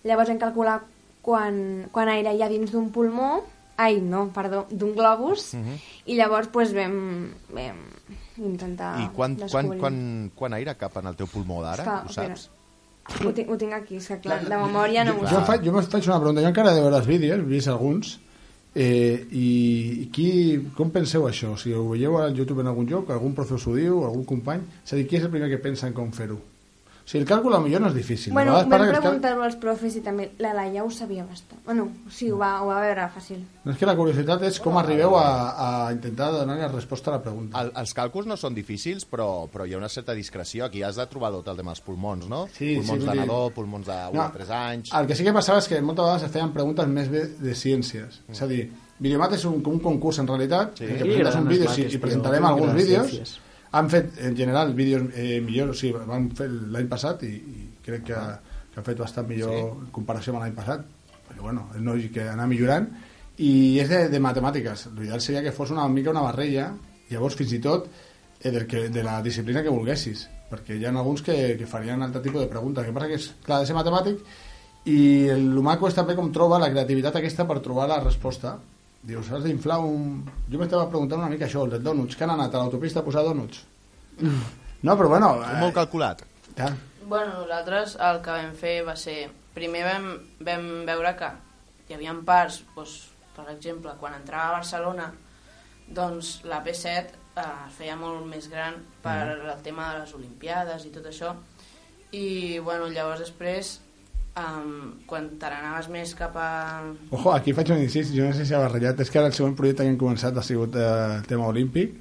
Llavors hem calculat quan, quan aire hi ha dins d'un pulmó ai, no, perdó, d'un globus
Mhm.
i llavors pues, vam, vam intentar
I quan, quan,
descobrir.
quan, quan aire cap en el teu pulmó d'ara?
Està,
Ho
espera.
saps?
Ho tinc, ho tinc aquí, és que clar, de memòria no m'ho
Jo,
Clar.
faig, jo me'n faig una pregunta. Jo encara he de veure els vídeos, he vist alguns, eh, i, i qui, com penseu això? O sigui, ho veieu al YouTube en algun lloc, algun profe us ho diu, algun company? És a dir, qui és el primer que pensa en com fer-ho? O sigui, el càlcul potser no és difícil.
Bueno,
A vegades
vam
passa que el cal-
preguntar-ho als profes i també la Laia ho sabia bastant. Bueno, sí, ho va, ho va veure fàcil.
No és que la curiositat és com arribeu a, a intentar donar la resposta a la pregunta.
El, els càlculs no són difícils, però, però hi ha una certa discreció. Aquí has de trobar tot el tema dels pulmons, no?
Sí,
pulmons
sí,
de
vull dir-
nadó, pulmons de 1 a 3 anys...
El que sí que passava és que moltes vegades es feien preguntes més bé de ciències. És a dir, Videomat és un, com un concurs en realitat, Mm. sí. que
Sí,
presentes
eren
un
els
vídeo sí,
mates,
i
però
presentarem
eren
alguns
les
vídeos.
ciències.
Han fet, en general, vídeos eh, millors, o sigui, van fer l'any passat i, i crec que, que han fet bastant millor sí. en comparació amb l'any passat. Però bueno, és lògic que anar millorant. I és de, de matemàtiques. L'ideal seria que fos una mica una barrella, llavors fins i tot eh, del que, de la disciplina que volguessis, perquè hi ha alguns que, que farien altre tipus de preguntes. El que passa que és, clar, ha de ser matemàtic i el lo maco és també com troba la creativitat aquesta per trobar la resposta. Dius, has d'inflar un... Jo m'estava preguntant una mica això, el dels donuts. Que han anat a l'autopista a posar donuts? No, però bueno...
Eh. Molt calculat.
ja.
Bueno, nosaltres el que vam fer va ser... Primer vam, vam veure que hi havia parts, doncs, per exemple, quan entrava a Barcelona, doncs la P7 eh, es feia molt més gran per mm. el tema de les Olimpiades i tot això. I, bueno, llavors després, um, quan te n'anaves més cap a...
Ojo, aquí faig un incís, jo no sé si ha barrellat, és que ara el següent projecte que hem començat ha sigut eh, el tema olímpic.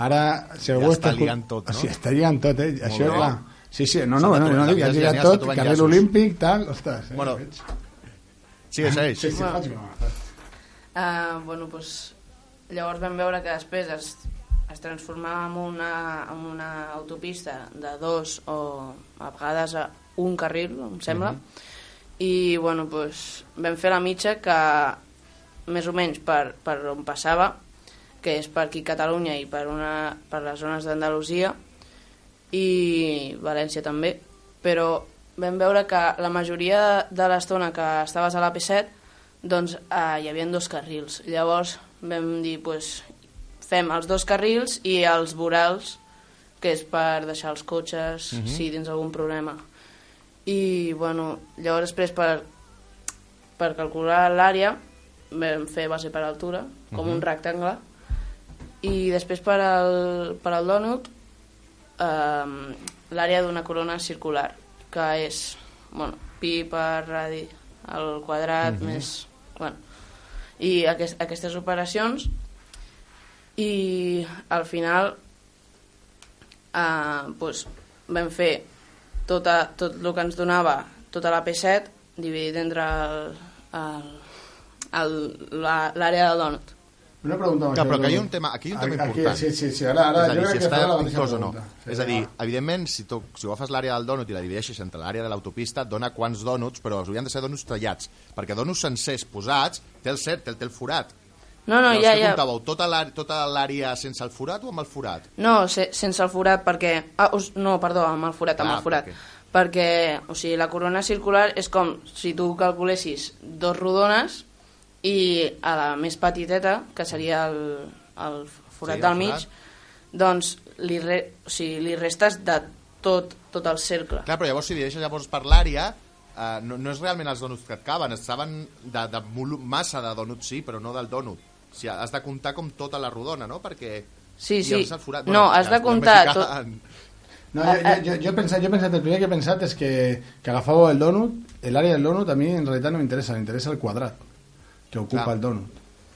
Ara, si algú
Ja està
escu-
lligant tot, no?
O sigui, està lligant tot, eh? Això,
bé.
clar. Sí, sí, no,
S'ha
no,
de
no, no,
trobar-
no, dic, has
has
lligat
lligats a
tot,
trobar
carrer
enllaços.
olímpic, tal, ostres. Eh?
Bueno,
veig.
Sí, segueix.
sí, sí, faig una-
Uh, bueno, pues, llavors vam veure que després es, es transformava en una, en una autopista de dos o a vegades a, un carril, em sembla, i bueno, pues, vam fer la mitja que més o menys per, per on passava, que és per aquí Catalunya i per, una, per les zones d'Andalusia i València també, però vam veure que la majoria de l'estona que estaves a la P7 doncs eh, hi havia dos carrils. Llavors vam dir, pues, fem els dos carrils i els vorals, que és per deixar els cotxes, uh -huh. si tens algun problema. I, bueno, llavors després per, per calcular l'àrea vam fer base per altura, com uh -huh. un rectangle, i després per al, per al donut eh, l'àrea d'una corona circular, que és, bueno, pi per radi al quadrat, uh -huh. més... Bueno, I aquest, aquestes operacions i al final eh, doncs vam fer tota, tot el que ens donava tota la P7 dividit entre el- el- el- la- l'àrea de donut.
Una pregunta amb
Clar,
això,
però que hi ha
Edu.
un tema- aquí hi ha un tema
Aquí-
important.
Sí, sí, sí, ara, ara
és a dir,
jo crec
si
que
està
farà la mateixa
dubtós o no.
pregunta. Sí,
és a dir,
va.
evidentment, si tu, si agafes l'àrea del dònut i la divideixes entre l'àrea de l'autopista, et dona quants dònuts, però haurien de ser dònuts tallats, perquè dònuts sencers posats té el cert, té el, té el forat.
No, no,
Llavors,
ja,
què
ja.
comptàveu? Tota l'àrea- Tota l'àrea sense el forat o amb el forat?
No, se, sense el forat, perquè... Ah, us, no, perdó, amb el forat, amb
Ah,
el forat.
perquè-
Perquè... perquè, o sigui, la corona circular és com si tu calculessis dos rodones i a la més petiteta, que seria el, el forat
Sí, el
sí, del mig,
forat.
doncs li, re, o sigui, li restes de tot, tot el cercle.
Clar, però llavors si divideixes llavors per l'àrea, eh, no, no és realment els donuts que et caben, estaven de, de molu- massa de donuts, sí, però no del donut. O sigui, has de comptar com tota la rodona, no? Perquè...
Sí,
i
sí.
els has forat-
No, has
ja
de
es podem
comptar
ficar
tot-
en-
No, jo, jo, jo, jo, he pensat, jo he pensat, el primer que he pensat és que, que agafava el donut, l'àrea del donut a mi en realitat no m'interessa, m'interessa el quadrat que ocupa
Clar.
el donut.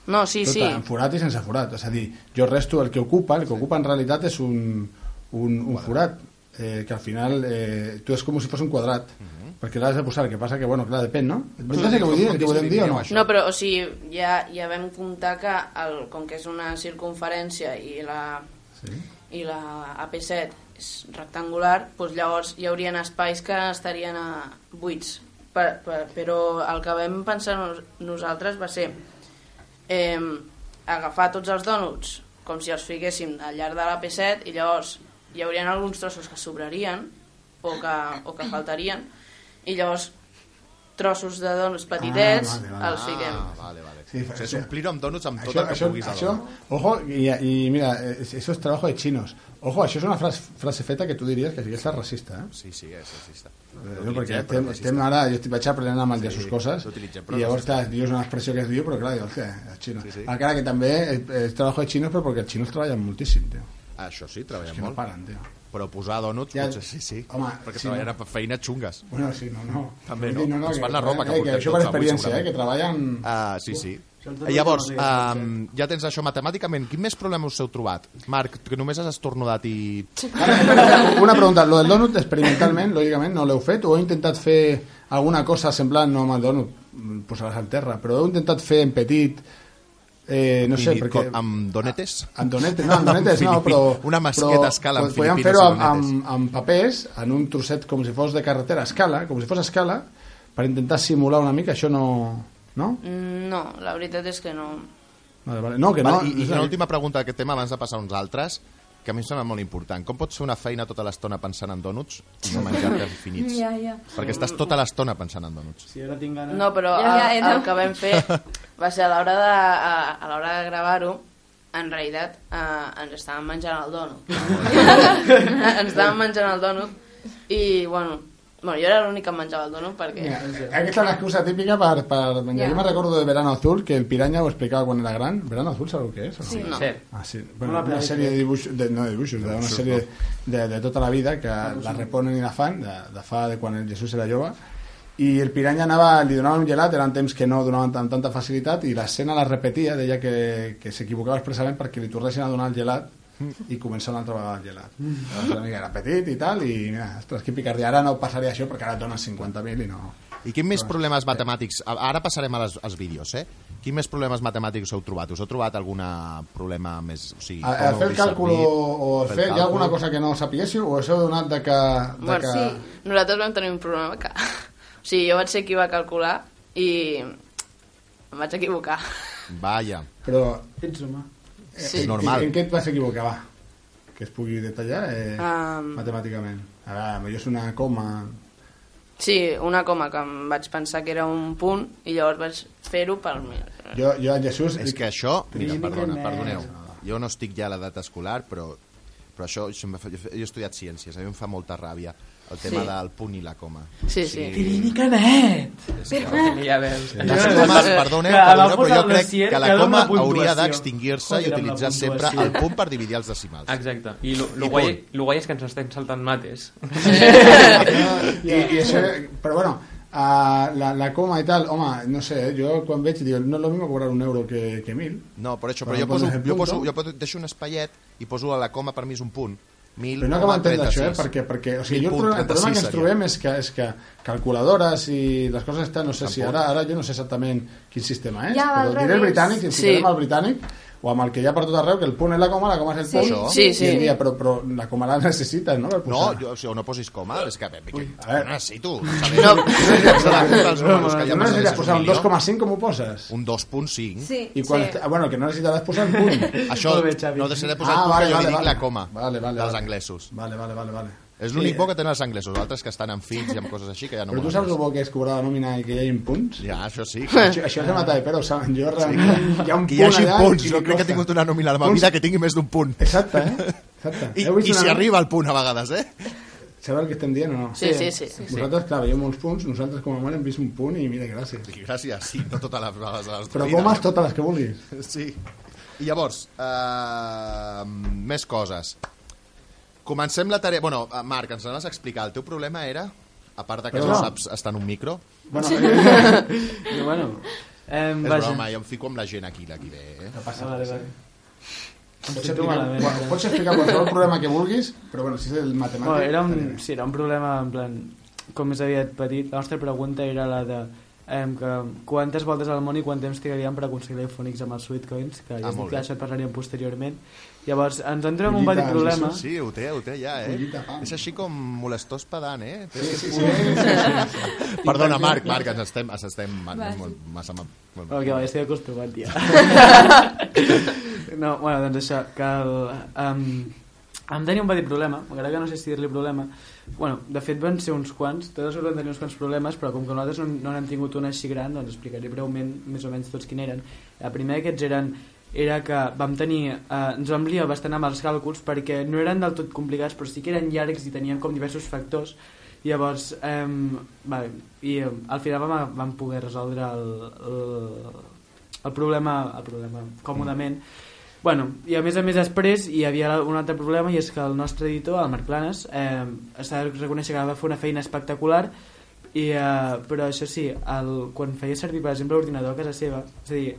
No, sí,
Tot
sí.
en forat i sense forat. És a dir, jo resto el que ocupa, el que ocupa en realitat és un, un, un forat, eh, que al final eh, tu és com si fos un quadrat,
Mhm.
perquè l'has de posar, el que passa que, bueno, clar, depèn, no? Entens el que vull dir, el que volem dir o no?
No, però, o sigui, ja, ja vam comptar que, el, com que és una circunferència i la,
Sí.
i la AP7 és rectangular, doncs llavors hi haurien espais que estarien a buits. Per, per, però el que vam pensar nos, nosaltres va ser eh, agafar tots els dònuts com si els fiquéssim al llarg de l'AP7 i llavors hi haurien alguns trossos que sobrarien o que, o que faltarien i llavors trossos de dònuts petitets
Ah, vale, vale.
els fiquem.
Ah, vale, vale.
Sí,
Sí, o sigui,
sí.
s'omplir amb donuts amb tot
Això,
el que
això,
puguis. al
això,
donut.
ojo, y, y mira, eh, eso es trabajo de chinos. Ojo, això és una frase, frase feta que tu diries que sí que és racista, eh?
Sí, sí, és racista.
Eh,
L'utilitzem,
perquè
però
estem,
no
estem ara, jo estic vaig aprenent amb el dia
Sí,
sus coses
l'utilitzem, però
i llavors,
no
clar, dius una expressió que es diu però clar, dius, hòstia, els xinos
Sí,
sí,
sí.
sí. encara que també és, és trabajo de xinos però perquè els xinos treballen moltíssim, tio
Ah, Això sí, treballen
que no
molt.
paren, tio
Però posar donuts,
Ja-
potser sí, sí.
Home,
perquè
sí,
treballen
no.
per feina xungues.
bueno, sí, no, no
També
Vull
no. Ens fan la roba que
eh,
portem
això
tots
per
avui,
experiència, eh,
segurament.
que treballen
Ah, sí, sí.
Són tot
Llavors,
les teves
um, ja tens això matemàticament. Quin més problema us heu trobat? Marc, que només has estornudat i...
una pregunta, lo del donut experimentalment, lògicament no l'heu fet o heu intentat fer alguna cosa semblant no amb el donut, mm, posar-les al terra però heu intentat fer en petit eh, no sé,
i,
perquè Ah,
co- Amb donetes?
Amb donetes, no, amb donetes no,
Filipí-
però...
una masqueta a escala amb
però Podíem
filipines
fer-ho
i
amb,
donetes.
amb, amb papers, en un trosset com si fos de carretera a escala, com si fos a escala, per intentar simular una mica, això no... No?
No, la veritat és que no.
Vale, vale. No, que no...
Vale, I, i
no sé,
una última pregunta d'aquest tema abans de passar a uns altres, que a mi em sembla molt important. Com pots fer una feina tota l'estona pensant en donuts i no menjar-te infinits?
Ja, ja.
Perquè estàs tota l'estona pensant en donuts.
Si ara tinc ganes...
No, però
Ja, ja,
el,
no.
el que vam fer va ser a l'hora de, a, a l'hora de gravar-ho, en realitat eh, ens estàvem menjant el donut. ens estàvem menjant el donut i, bueno, bueno jo era l'únic que em menjava el donut perquè...
Mira, aquesta és l'excusa típica per... per menjar. Jo me'n recordo de Verano Azul, que el Piranya ho explicava quan era gran. Verano Azul, sabeu què és? o no?
Sí. No.
Cert.
Ah, sí. Bueno,
Una
una
pel·lícula.
sèrie de dibuixos, de, no de dibuixos, de una sèrie de, de tota la vida que la reponen i la fan, de, de fa de quan el Jesús era jove, i el Piranya anava, li donava un gelat, eren temps que no donaven tan, tanta facilitat, i l'escena la repetia, deia que, que s'equivocava expressament perquè li tornessin a donar el gelat i començar una altra vegada el gelat. Llavors, una mica era petit i tal, i mira, ostres, que picardia, ara no passaria això perquè ara et donen 50.000 i no...
I quin més problemes matemàtics... a- Ara passarem a les, als vídeos, eh? Quin més problemes matemàtics heu trobat? Us heu trobat algun problema més... O sigui,
A,
com
a
heu
fer el
discernit?
càlcul o, o a
Fer el
fer, hi ha alguna
càlcul?
cosa que no sapiguéssiu o us heu donat de que... De
Bueno,
que...
sí, nosaltres vam tenir un problema que... O sigui, jo vaig ser qui va calcular i em vaig equivocar.
Vaja.
Però
Ets home.
Sí.
Eh, És normal.
En, en què et vas equivocar, va? Que es pugui detallar eh,
Am.
matemàticament. Ara, jo és una coma...
sí, una coma que em vaig pensar que era un punt i llavors vaig fer-ho pel mil.
Jo, jo en Jesús...
És que això... Mira,
Trini
perdona,
Gomez.
perdoneu. Jo no estic ja a l'edat escolar, però, però això... això em fa- Jo he estudiat ciències, a mi em fa molta ràbia el tema
Sí.
del punt i la coma.
Sí,
Trini Canet!
És que...
Ja veus.
Les
Sí.
comes,
Sí.
perdoneu,
Que
perdoneu,
agafo
però jo
el
crec
dossier,
que la
que dona
coma
una puntuació.
hauria d'extingir-se i
Joder, amb la
utilitzar sempre
puntuació.
el punt per dividir els decimals.
Exacte. I lo,
I
lo, guai,
punt.
lo guai és que ens estem saltant mates.
I, i això, però bueno, a la, la coma i tal, home, no sé, eh, jo quan veig dic, no és lo mismo cobrar un euro que, que mil.
No, per això, però
Bueno,
jo poso,
pones el
jo,
punto.
poso, jo poso, deixo un espaiet i poso a la coma per mi és un punt. Mil,
Però no acabo d'entendre això, eh? Perquè, perquè o sigui, jo el, problema, el problema que ens trobem és que, és que calculadores i les coses estan, no sé si ara, ara jo no sé exactament quin sistema és,
Ja, va, al
però diré el
revés.
britànic, si ens
Sí.
ficarem al britànic, o amb el que hi ha per tot arreu, que el punt és la coma, la coma és el
Sí.
punt,
Sí, sí.
i mira, però, però la coma la necessites, no? Per
No,
posar.
jo, o sigui, no posis coma, és que, que, que Ah,
a veure.
no necessito. saber- No, els números que hi
no
ha per saber si
necessites
és
posar un
milió.
2,5 com ho poses?
Un 2.5.
Sí,
I quan,
sí.
ah, bueno, que no necessitaràs posar un punt.
Això
Molt bé, Xavi.
no deixaré de posar el punt, que jo li dic la coma
Ah, vale, vale,
dels
vale.
anglesos.
Vale, vale, vale, vale.
És l'únic bo que tenen els anglesos, altres que estan amb fills i amb coses així que ja no
Però tu
volen
saps el
res.
bo que és cobrar la nòmina i que hi hagi punts?
Ja, això sí.
Això, això és de matar de pera, ho saben. Jo realment hi ha un
Que
punt
hi hagi
allà
punts,
i
jo crec que
costa.
he tingut una nòmina a la meva vida que tingui més d'un punt.
Exacte, eh? Exacte.
I,
Heu vist
i
una-
si arriba al punt a vegades, eh?
Sabeu el que estem dient o no?
Sí, sí, sí. sí.
Vosaltres, clar, veieu molts punts, nosaltres com a mare hem vist un punt i mira, gràcies.
I gràcies, sí, no totes les vegades de la nostra
Però
vida.
comes totes les que vulguis.
Sí. I llavors, uh, més coses. Comencem la tarea... Bueno, eh, Marc, ens anaves a explicar. El teu problema era, a part de que
Però
no,
no.
saps estar en un micro,
Bueno, eh,
Però bueno... Eh,
és
vaja.
broma, jo em fico amb la gent aquí, aquí bé. Eh?
Ah, vale, vale. Em
pots,
sento
explicar,
malament.
eh.
bueno, pots explicar qualsevol problema que vulguis, però bueno, si és el matemàtic...
Bueno, era
tenim.
un, sí, era un problema en plan, com més aviat petit, la nostra pregunta era la de eh, que quantes voltes al món i quant temps trigaríem per aconseguir l'iPhonics amb els Sweetcoins, que ja
Ah,
has
molt bé.
dit que això et parlaríem posteriorment. Llavors, ens entrem en un
Collita,
petit problema.
Jesús,
Sí, ho té, ho té ja, eh?
Collita, pam.
És així com molestós pedant, eh?
Sí, sí, sí, sí, sí, sí.
Perdona, Marc, Marc, ens estem, ens estem molt, massa... Molt,
Oh, que va, ja estic acostumat, ja. no, bueno, doncs això, que el, um, em tenia un petit problema, encara que no sé si dir-li problema, bueno, de fet van ser uns quants, tots els grups van tenir uns quants problemes, però com que nosaltres no, no n'hem tingut un així gran, doncs explicaré breument més o menys tots quins eren. El primer d'aquests eren era que vam tenir, eh, ens vam liar bastant amb els càlculs perquè no eren del tot complicats però sí que eren llargs i tenien com diversos factors Llavors, eh, va, i eh, al final vam, vam poder resoldre el, el, el problema, el problema còmodament. Bueno, i a més a més després hi havia un altre problema i és que el nostre editor, el Marc Planes, eh, s'ha de reconèixer que va fer una feina espectacular i, eh, però això sí, el, quan feia servir per exemple l'ordinador a casa seva, és a dir,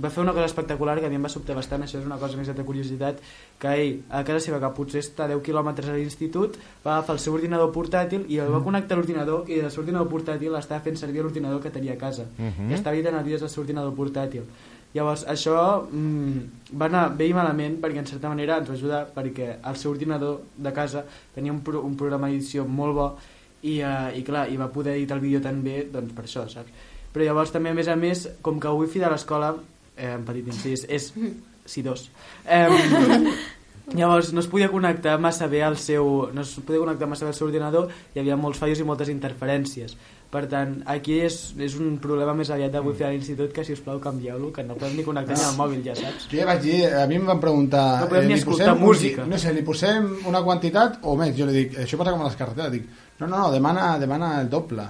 va fer una cosa espectacular que a mi em va sobtar bastant, això és una cosa més de curiositat, que ell, a casa seva, que potser està a 10 quilòmetres a l'institut, va agafar el seu ordinador portàtil i el va connectar a l'ordinador i el seu ordinador portàtil estava fent servir l'ordinador que tenia a casa. I estava editant el vídeos del seu ordinador portàtil. Llavors, això mm, va anar bé i malament perquè, en certa manera, ens va ajudar perquè el seu ordinador de casa tenia un, pro un programa d'edició molt bo i, uh, i clar, i va poder editar el vídeo tan bé doncs per això, saps? Però llavors també, a més a més, com que el wifi de l'escola, eh, en petit incís, és sidós, eh, Mm. llavors no es podia connectar massa bé al seu, no es podia connectar massa bé al seu ordinador, hi havia molts fallos i moltes interferències. Per tant, aquí és, és un problema més aviat
Mm.
del wifi de l'institut que, si us plau, canvieu-lo, que no podem ni connectar ni al mòbil, ja saps?
Jo ja vaig dir, eh, a mi em van preguntar... eh,
No podem ni
li
escoltar
posem
música.
Un, no sé, li posem una quantitat o més. Jo li dic, això passa com a les carreteres. Dic, no, no, no, demana, demana el doble.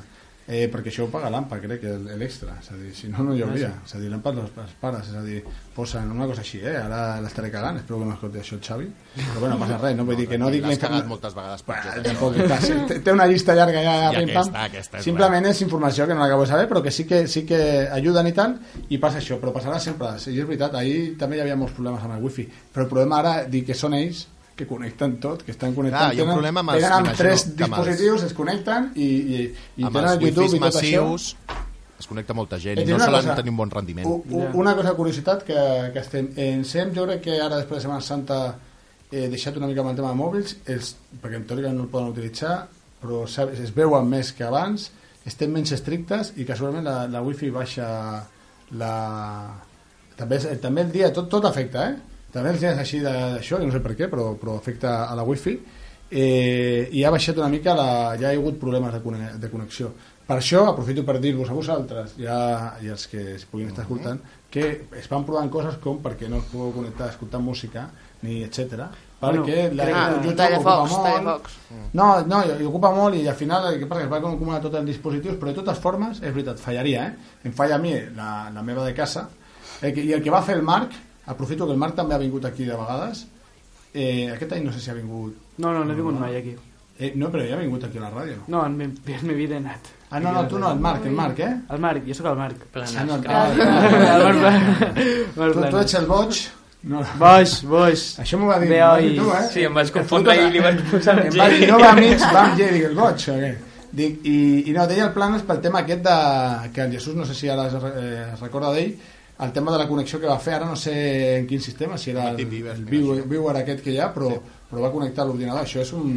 Eh, perquè això ho paga l'AMPA, crec, el- l'extra. És a dir, si no, no
Ah,
hi hauria. És a dir, l'AMPA els, els pares, és a dir, posen una cosa així, eh? Ara l'estaré cagant, espero que no escolti això el Xavi. Però bueno, passa res, no vull dir que no dic... la
L'has
informa-
cagat moltes vegades. per eh?
Bueno,
això,
tampoc,
però-
clar, sí, té- té una llista llarga ja,
I
pim,
aquesta,
pam.
aquesta és
simplement és informació que no l'acabo de saber però que sí que, sí que ajuden i tal i passa això, però passarà sempre sí, és veritat, ahir també hi havia molts problemes amb el wifi però el problema ara, dir que són ells que connecten tot, que estan connectant.
Clar, hi ha un
tenen-
problema amb els-
tenen amb
m'imagino,
tres
que amb els-
dispositius, es connecten i, i, i
amb
tenen
els
el YouTube i
wifi
tot això.
massius es connecta molta gent
Et
i
diré
no
una
solen
cosa. Oh.
tenir un bon rendiment.
U- u- Una cosa, curiositat, que, que estem... En SEM, jo crec que ara, després de Setmana Santa, he deixat una mica amb el tema de mòbils, els, perquè en teoria no el poden utilitzar, però sabes, es veuen més que abans, estem menys estrictes i casualment la, la wifi baixa la... També, és- eh, també el dia, tot, tot afecta, eh? També els dies així de- d'això, jo no sé per què, però, però afecta a la wifi, eh, i ha baixat una mica, la, ja hi ha hagut problemes de, cone- de connexió. Per això aprofito per dir-vos a vosaltres i, a, i als que es puguin estar escoltant que es van provant coses com perquè no us podeu connectar a escoltar música ni etc. perquè
Bueno,
la, el
crec que-
YouTube Ah, ocupa
Tallafocs,
molt.
tallafocs.
No, no, i, i ocupa molt i al final el que passa és que es va acumular tot els dispositius, però de totes formes, és veritat, fallaria, eh? Em falla a mi la, la meva de casa. El que, I el que va fer el Marc, aprofito que el Marc també ha vingut aquí de vegades, eh, aquest any no sé si ha vingut...
No, no, no he vingut mai aquí.
Eh, no, però ja ha vingut aquí a la ràdio.
No, en mi, en mi vida he anat.
Ah, no, no, tu no, el Marc, el Marc, eh?
El Marc, jo sóc el Marc.
Planes,
Ah, no, el
clar.
Marc.
El Marc, Marc
Tu, tu
Planes.
ets el boig... No,
Boix, boix.
Això m'ho va dir,
Ve
m'ho va dir
oi.
tu, eh?
Sí, em vaig confondre i li van posar
Em va dir, no va amics, va amb Jerry, el boig, o què? Dic, i, I no, deia el Planes pel tema aquest de, que el Jesús, no sé si ara es, eh, es recorda d'ell, el tema de la connexió que va fer, ara no sé en quin sistema, si era el,
Team
el,
Viewer,
viewer, viewer aquest que hi ha, però, però va connectar a l'ordinador. Això és un...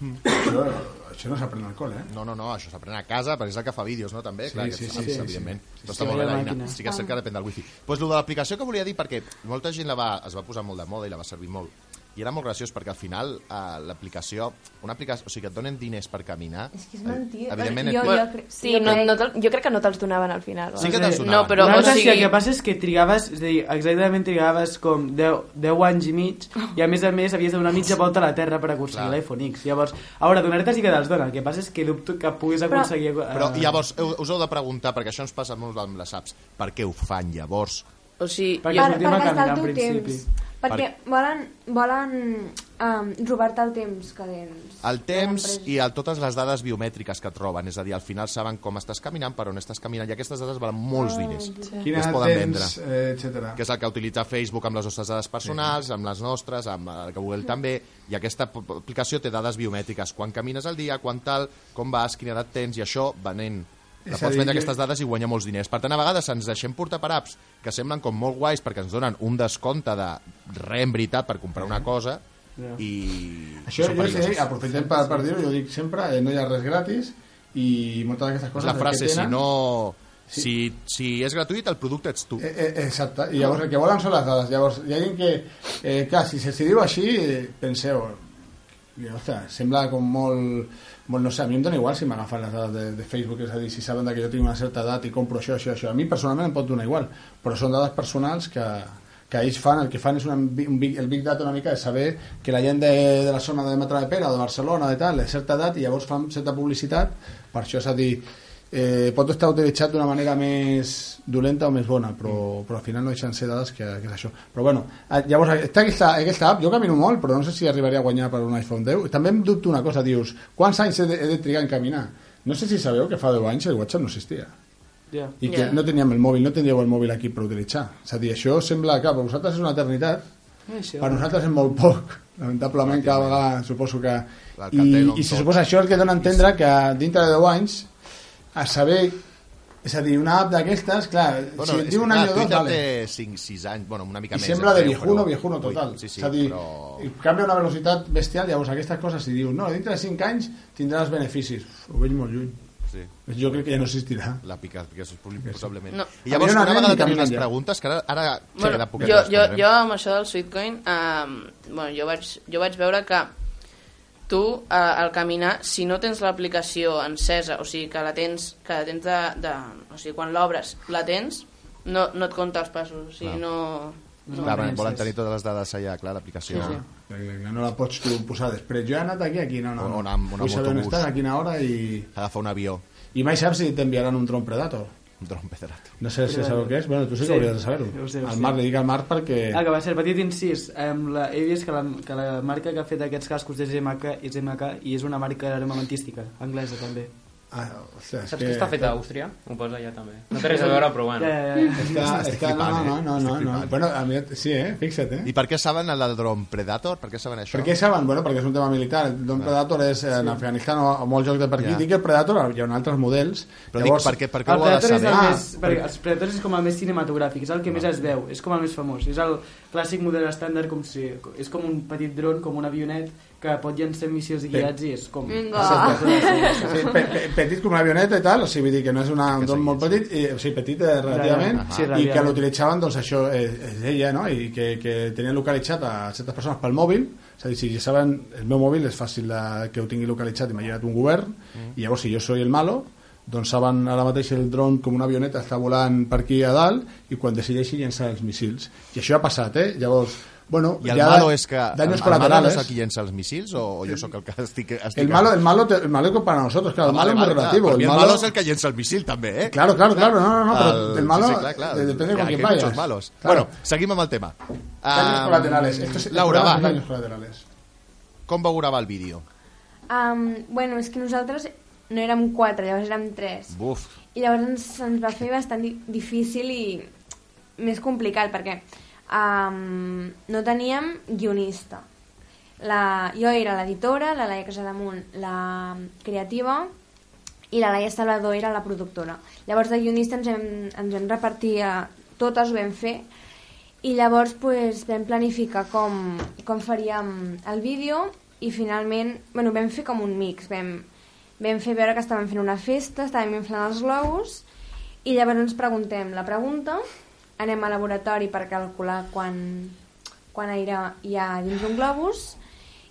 Això, això no s'aprèn al col, eh?
No, no, no, això s'aprèn a casa, perquè és el que fa vídeos, no, també?
Sí,
Clar,
sí,
que
sí, sí,
evidentment.
sí. Ah.
Però està
Sí,
molt bé
la
la eina.
màquina.
Sí que és cert que depèn del wifi. Doncs pues, lo de l'aplicació que volia dir, perquè molta gent la va, es va posar molt de moda i la va servir molt. I era molt graciós perquè al final eh, l'aplicació, una aplicació, o sigui, que et donen diners per caminar...
És que és mentida.
Evidentment,
eh?
eh?
jo,
et-
jo, cre-
Sí,
jo
no,
crec-
no te'l- jo crec que no te'ls donaven al final.
sí que
no
te'ls
sé.
donaven.
No, però-
Una
o
cosa
sigui-
el que passa és que trigaves, és a dir, exactament trigaves com 10, 10 anys i mig i a més a més havies de donar mitja volta a la Terra per aconseguir
Clar.
l'iPhone X. Llavors, a veure, donar-te sí que te'ls dona, el que passa és que dubto que puguis aconseguir... eh,
Però llavors, heu- us heu de preguntar, perquè això ens passa molt amb les apps, per què ho fan llavors?
O sigui,
Perquè-
jo,
sortim a
gastar
caminar,
el teu
en principi.
Temps. Perquè volen, volen um, robar-te el temps que tens.
El temps
Les empreses.
i el, totes les dades biomètriques que troben, és a dir, al final saben com estàs caminant, per on estàs caminant, i aquestes dades valen molts diners.
Quina
es poden
temps, eh, etcètera.
que és el que utilitza Facebook amb les nostres dades personals, amb les nostres, amb el que Google també, i aquesta p- p- aplicació té dades biomètriques, quan camines al dia, quan tal, com vas, quina edat tens, i això venent. La
És a
pots
dir,
vendre
jo-
aquestes dades i guanyar molts diners. Per tant, a vegades ens deixem portar per apps que semblen com molt guais perquè ens donen un descompte de re en veritat per comprar una cosa i...
Això
són
jo sé,
perillosos.
aprofitem per, per dir-ho, jo dic sempre, eh, no hi ha res gratis i moltes d'aquestes
És
coses...
la
el que
frase, si
tenen-
no...
Sí.
Si, si és gratuït, el producte ets tu.
Eh, eh, exacte, i llavors el que volen són les dades. Llavors hi ha gent que, eh, clar, si se si diu així, eh, penseu, i, ostres, sembla com molt, molt... No sé, a mi em dona igual si m'agafen les dades de, de Facebook, és a dir, si saben de que jo tinc una certa edat i compro això, això, això. A mi personalment em pot donar igual, però són dades personals que, que ells fan, el que fan és una, un big, el big data una mica de saber que la gent de, de la zona de Matra de Pere o de Barcelona de tal, de certa edat, i llavors fan certa publicitat, per això és a dir, eh, pot estar utilitzat d'una manera més dolenta o més bona, però, però al final no deixen ser dades que, que és això. Però bueno, eh, llavors està aquesta, aquesta app, jo camino molt, però no sé si arribaré a guanyar per un iPhone 10. També em dubto una cosa, dius, quants anys he de, he de trigar en caminar? No sé si sabeu que fa 10 anys el WhatsApp no existia
Ja.
i que
Ja.
no teníem el mòbil, no tindríeu el mòbil aquí per utilitzar. És a dir, això sembla que per vosaltres és una eternitat,
Ah, Això.
per nosaltres és molt poc, lamentablement cada vegada suposo que... I,
L'Alcatel, on
i se
tot.
suposa això el que dona a entendre que dintre de 10 anys, a saber... És a dir, una app d'aquestes, clar,
Bueno,
si et
és
diu
que,
un any o
clar,
dos,
Twitter
vale.
té 5-6 anys, bueno, una mica
I
més.
sembla de
creu,
viejuno,
però-
viejuno total.
Ui, sí, sí,
és a dir,
però...
i canvia una velocitat bestial, llavors aquestes coses, si dius, no, dintre de 5 anys tindràs beneficis. Ho veig molt lluny.
Sí,
Jo crec que ja no existirà.
la pica, que és possiblement.
No.
I
A mi no
llavors, una
anem
vegada
ni
tenim les
caminant, ja.
preguntes, que ara, ara bueno,
bueno,
queda poquet.
jo,
que
jo,
respondrem.
jo amb això del Sweetcoin, eh, bueno, jo, vaig, jo vaig veure que tu, eh, al caminar, si no tens l'aplicació encesa, o sigui, que la tens, que la tens de, de... O sigui, quan l'obres la tens, no, no et compta els passos. O sigui,
Clar.
no... no.
Clar,
no,
volen
sí,
tenir totes les dades allà, clar, l'aplicació.
Sí, sí.
No la pots tu posar després. Jo he anat aquí, aquí, no, no.
O
no.
anar amb- anar amb
Vull saber on
autobús.
estàs, a quina hora i...
Agafar un avió,
I mai saps si t'enviaran un Tron Predator.
un dron pedrat.
No sé si sabeu què és. Bueno, tu sí que
Sí,
hauries de saber-ho.
ho sé, ho
El
sé.
Marc, li dic al Marc perquè...
Ah, que va ser petit incís. Em, la, he vist que la, que la marca que ha fet aquests cascos és MK, és MK i és una marca armamentística, anglesa també.
Ah, ostres,
Saps que està fet a Àustria? Ho posa allà també. No té res a veure, però bueno.
Ja, ja, ja.
Està,
Estic
està, no,
flipant,
no, no,
eh? Estic
no, no,
flipant.
Bueno, a mi, sí, eh? Fixa't, eh?
I per què saben el Drone Predator? Per què saben això?
Per què saben? Bueno, perquè és un tema militar. El Don Predator és eh, en Afganistan o, o molts jocs de per aquí.
Ja.
Yeah. Dic que el Predator, hi ha altres models.
Però dic, per què, per què
El
ho ha de
Predator és
saber?
el
Ah,
més... Perquè els Predators és com el més cinematogràfic, és el que més es veu, és com el més famós, és el clàssic model estàndard, com si... És com un petit dron, com un avionet, que pot llançar míssils guiats i és com...
Vinga.
Sí, pe, pe, petit com una avioneta i tal, o sigui, vull dir que no és una, un don molt petit, i, o sigui, petit eh, relativament,
Ah,
Ja, ja. Sí,
i que
relativament.
l'utilitzaven, doncs això és, és ella, no? I que, que tenien localitzat a certes persones pel mòbil, és a dir, si ja saben, el meu mòbil és fàcil de, que ho tingui localitzat, imagina't un govern,
Mm.
i llavors si jo soy el malo, doncs saben ara mateix el dron com una avioneta està volant per aquí a dalt i quan decideixi llençar els missils. I això ha passat, eh? Llavors, bueno...
I el
ja
malo és que...
Daños
el malo no
colaterales.
és el que llença els missils o, o jo sóc el que estic... estic Ah,
El malo, el malo, te- el malo es para nosotros, claro, el malo es muy relativo.
El malo és el que llença el missil, també, eh?
Claro, claro, claro, no, no, no, pero
El-
el, malo
sí, sí, clar, clar.
eh, depende
Ja,
con quién
que hay
vayas.
muchos malos.
Claro.
Bueno, seguim amb el tema.
daños
Ah,
colaterales. Esto es,
Laura,
el programa
va.
es Daños colaterales.
Com veurava el vídeo?
Um, bueno, és que nosaltres no érem quatre, llavors érem tres.
Buf.
I llavors ens, ens va fer bastant di difícil i més complicat, perquè um, no teníem guionista. La, jo era l'editora, la Laia Casadamunt la creativa i la Laia Salvador era la productora. Llavors de guionista ens vam, ens vam repartir, a, totes ho vam fer, i llavors pues, vam planificar com, com faríem el vídeo i finalment bueno, vam fer com un mix. Vam, vam fer veure que estàvem fent una festa, estàvem inflant els globus i llavors ens preguntem la pregunta, anem al laboratori per calcular quan, quan aire hi ha dins d'un globus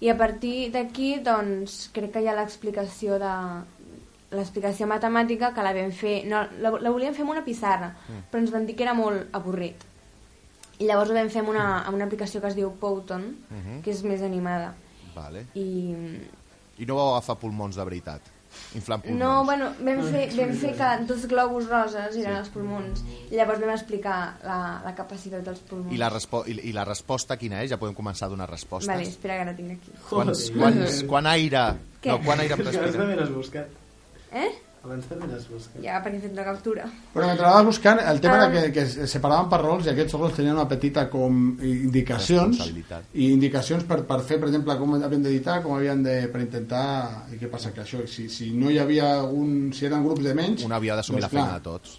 i a partir d'aquí doncs, crec que hi ha l'explicació de l'explicació matemàtica que la vam fer, no, la, la volíem fer amb una pissarra, però ens van dir que era molt avorrit. I llavors ho vam fer amb una,
Mm.
amb una aplicació que es diu Powton,
Mhm.
que és més animada.
Vale.
I
I no vau agafar pulmons de veritat? Inflant pulmons.
no, bueno, vam fer, vam fer que dos globus roses eren els pulmons. I llavors vam explicar la, la capacitat dels pulmons.
I la, respo i, I la resposta quina és? Ja podem començar a donar respostes.
Vale, espera que la tinc aquí.
Quants, quants, quan aire...
Què?
No, quan aire...
Abans també l'has buscat.
Eh?
Abans també l'has buscat.
Ja, perquè he fet una captura.
Bueno, mentre l'anaves buscant, el tema
Ah.
era que, que es separaven per rols i aquests rols tenien una petita com indicacions
Responsabilitat.
i indicacions per, per fer, per exemple, com havien d'editar, com havien de, per intentar... I què passa? Que això, si, si no hi havia un... Si eren grups de menys... doncs
Un havia d'assumir la feina de tots.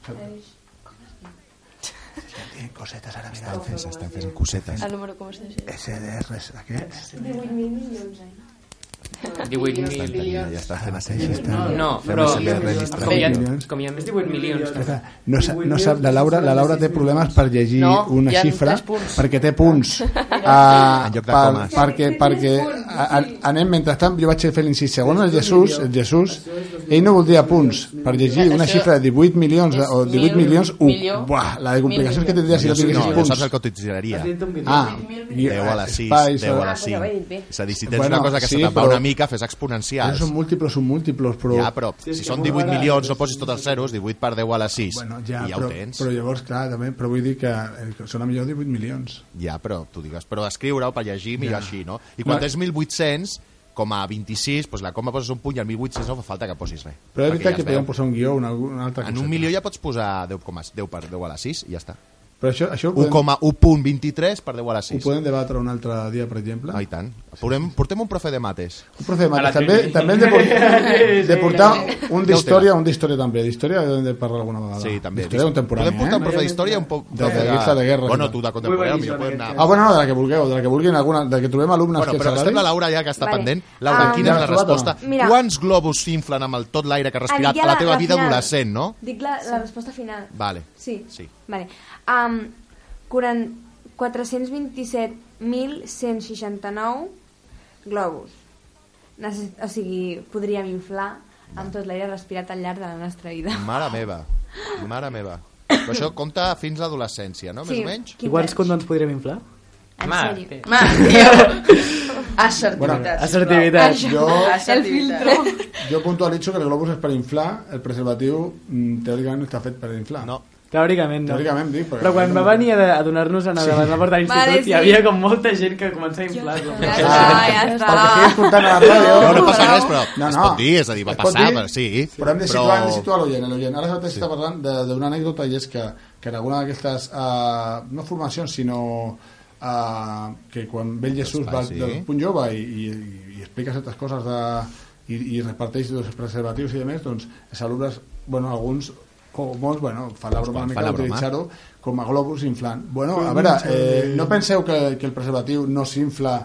Tenen cosetes ara, mira.
S'estan fent cosetes.
El número com es llegeix.
SDRs, aquests.
18.000 milions, eh?
18.000 milions.
estan fent assajos.
No, però
Fem SB
com hi, ha,
registrats.
com hi ha més de 18 milions...
No, sa- no sap, la Laura, la Laura té problemes per llegir
No,
una
hi ha
xifra
tres punts.
perquè té punts uh,
En lloc de
per,
comes.
perquè, perquè a, a, anem mentrestant jo vaig fer l'incís segon el Jesús, el Jesús ell no voldria punts per llegir una
Això
xifra de 18 milions o
és
18
mil
milions u,
milió.
buah, la de complicacions que tindria si
Jo,
no
no,
tinguessis
jo saps
punts
el que utilitzarien.
Has dit un milió.
ah, i-
10 a la 6,
espais,
10 a la
Ah, pues ja ho he
5.
dit bé.
És a dir, si tens
Bueno,
una cosa que se
sí,
te'n va
però-
una mica, fes
Però
exponencials.
són múltiples, són múltiples però,
Ja, però si són 18 milions no posis tots els zeros, 18 per 10 a la 6.
bueno, ja,
I ja
però,
ho tens.
però llavors clar, també, però vull dir que eh, que sona millor 18 milions
Ja, però tu digues, però escriure-ho per llegir millor així, no? I quan
No.
tens 1.800, com a 26, doncs la coma poses un puny, al 1.800 no fa falta que posis res.
però és
perquè
veritat
ja
que
es veu.
podem posar un guió una, una altra
En un
coseta.
milió ja pots posar 10, coma- 10 per 10 a la 6 i ja està.
Però això, això ho, podem,
1,1.23 per 10 a la
ho
6.
podem debatre un altre dia, per exemple.
Ah, i tant. Portem, portem un profe de mates.
Un profe de mates.
A la
També,
Trini.
també hem de, portar, de portar un
Ja ho
d'història,
té.
un d'història també. D'història hem de parlar alguna vegada.
Sí, també.
D'història contemporània,
Podem portar un
eh?
profe d'història i un po-
De-
profe
de guerra, de guerra.
Bueno, tu de contemporània,
Muy
millor podem anar...
buenísimo,
Ah,
eh?
bueno, no, de la que vulgueu, de la que vulguin, alguna, de la que trobem alumnes
Bueno,
que
però estem la Laura ja que està
Vale.
pendent. Laura,
Ah,
quina és la
ja l'has trobat,
resposta?
no? Mira.
Quants globus s'inflen amb el tot l'aire que has respirat
Ara,
a la teva vida
final.
adolescent, no?
Dic la, la resposta final.
Vale.
Sí.
Sí.
Vale. Um, 427.169 globus. Necess o sigui, podríem inflar amb tot l'aire respirat al llarg de la nostra vida.
Mare meva. Mare meva. Però això compta fins a l'adolescència, no? Més o menys?
I quants condons podrem inflar?
En
Mar,
sèrio.
Ma, tio. Assertivitat.
Assertivitat.
Jo,
El filtro.
jo puntualitzo que el globus és per inflar, el preservatiu mm, teòricament no està fet per inflar.
No.
Teòricament, no.
Teòricament, dic, perquè-
Però quan va venir a, a donar-nos a sí. la porta de l'institut,
Vale, sí.
hi havia com molta gent que començava a inflar-lo.
Ja està, ja està.
Ah, Perquè estic escoltant a la ràdio...
No, no passa res, però
No,
no, no. es
no.
pot dir, és a dir, va
Es pot
passar,
dir,
però sí.
Però hem de situar, però... situar l'oient, eh, l'oient. Ara s'està sí. parlant de- d'una anècdota i és que, que en alguna d'aquestes, uh, no formacions, sinó uh, que quan ve el Jesús va,
sí.
del punt jove i, i, i explica certes coses de, i, i reparteix els preservatius i demés, doncs els alumnes, bueno, alguns o molts, bueno, fan la broma una
Fan la
mica
broma.
d'utilitzar-ho com a globus inflant. Bueno, a veure, eh, no penseu que, que el preservatiu no s'infla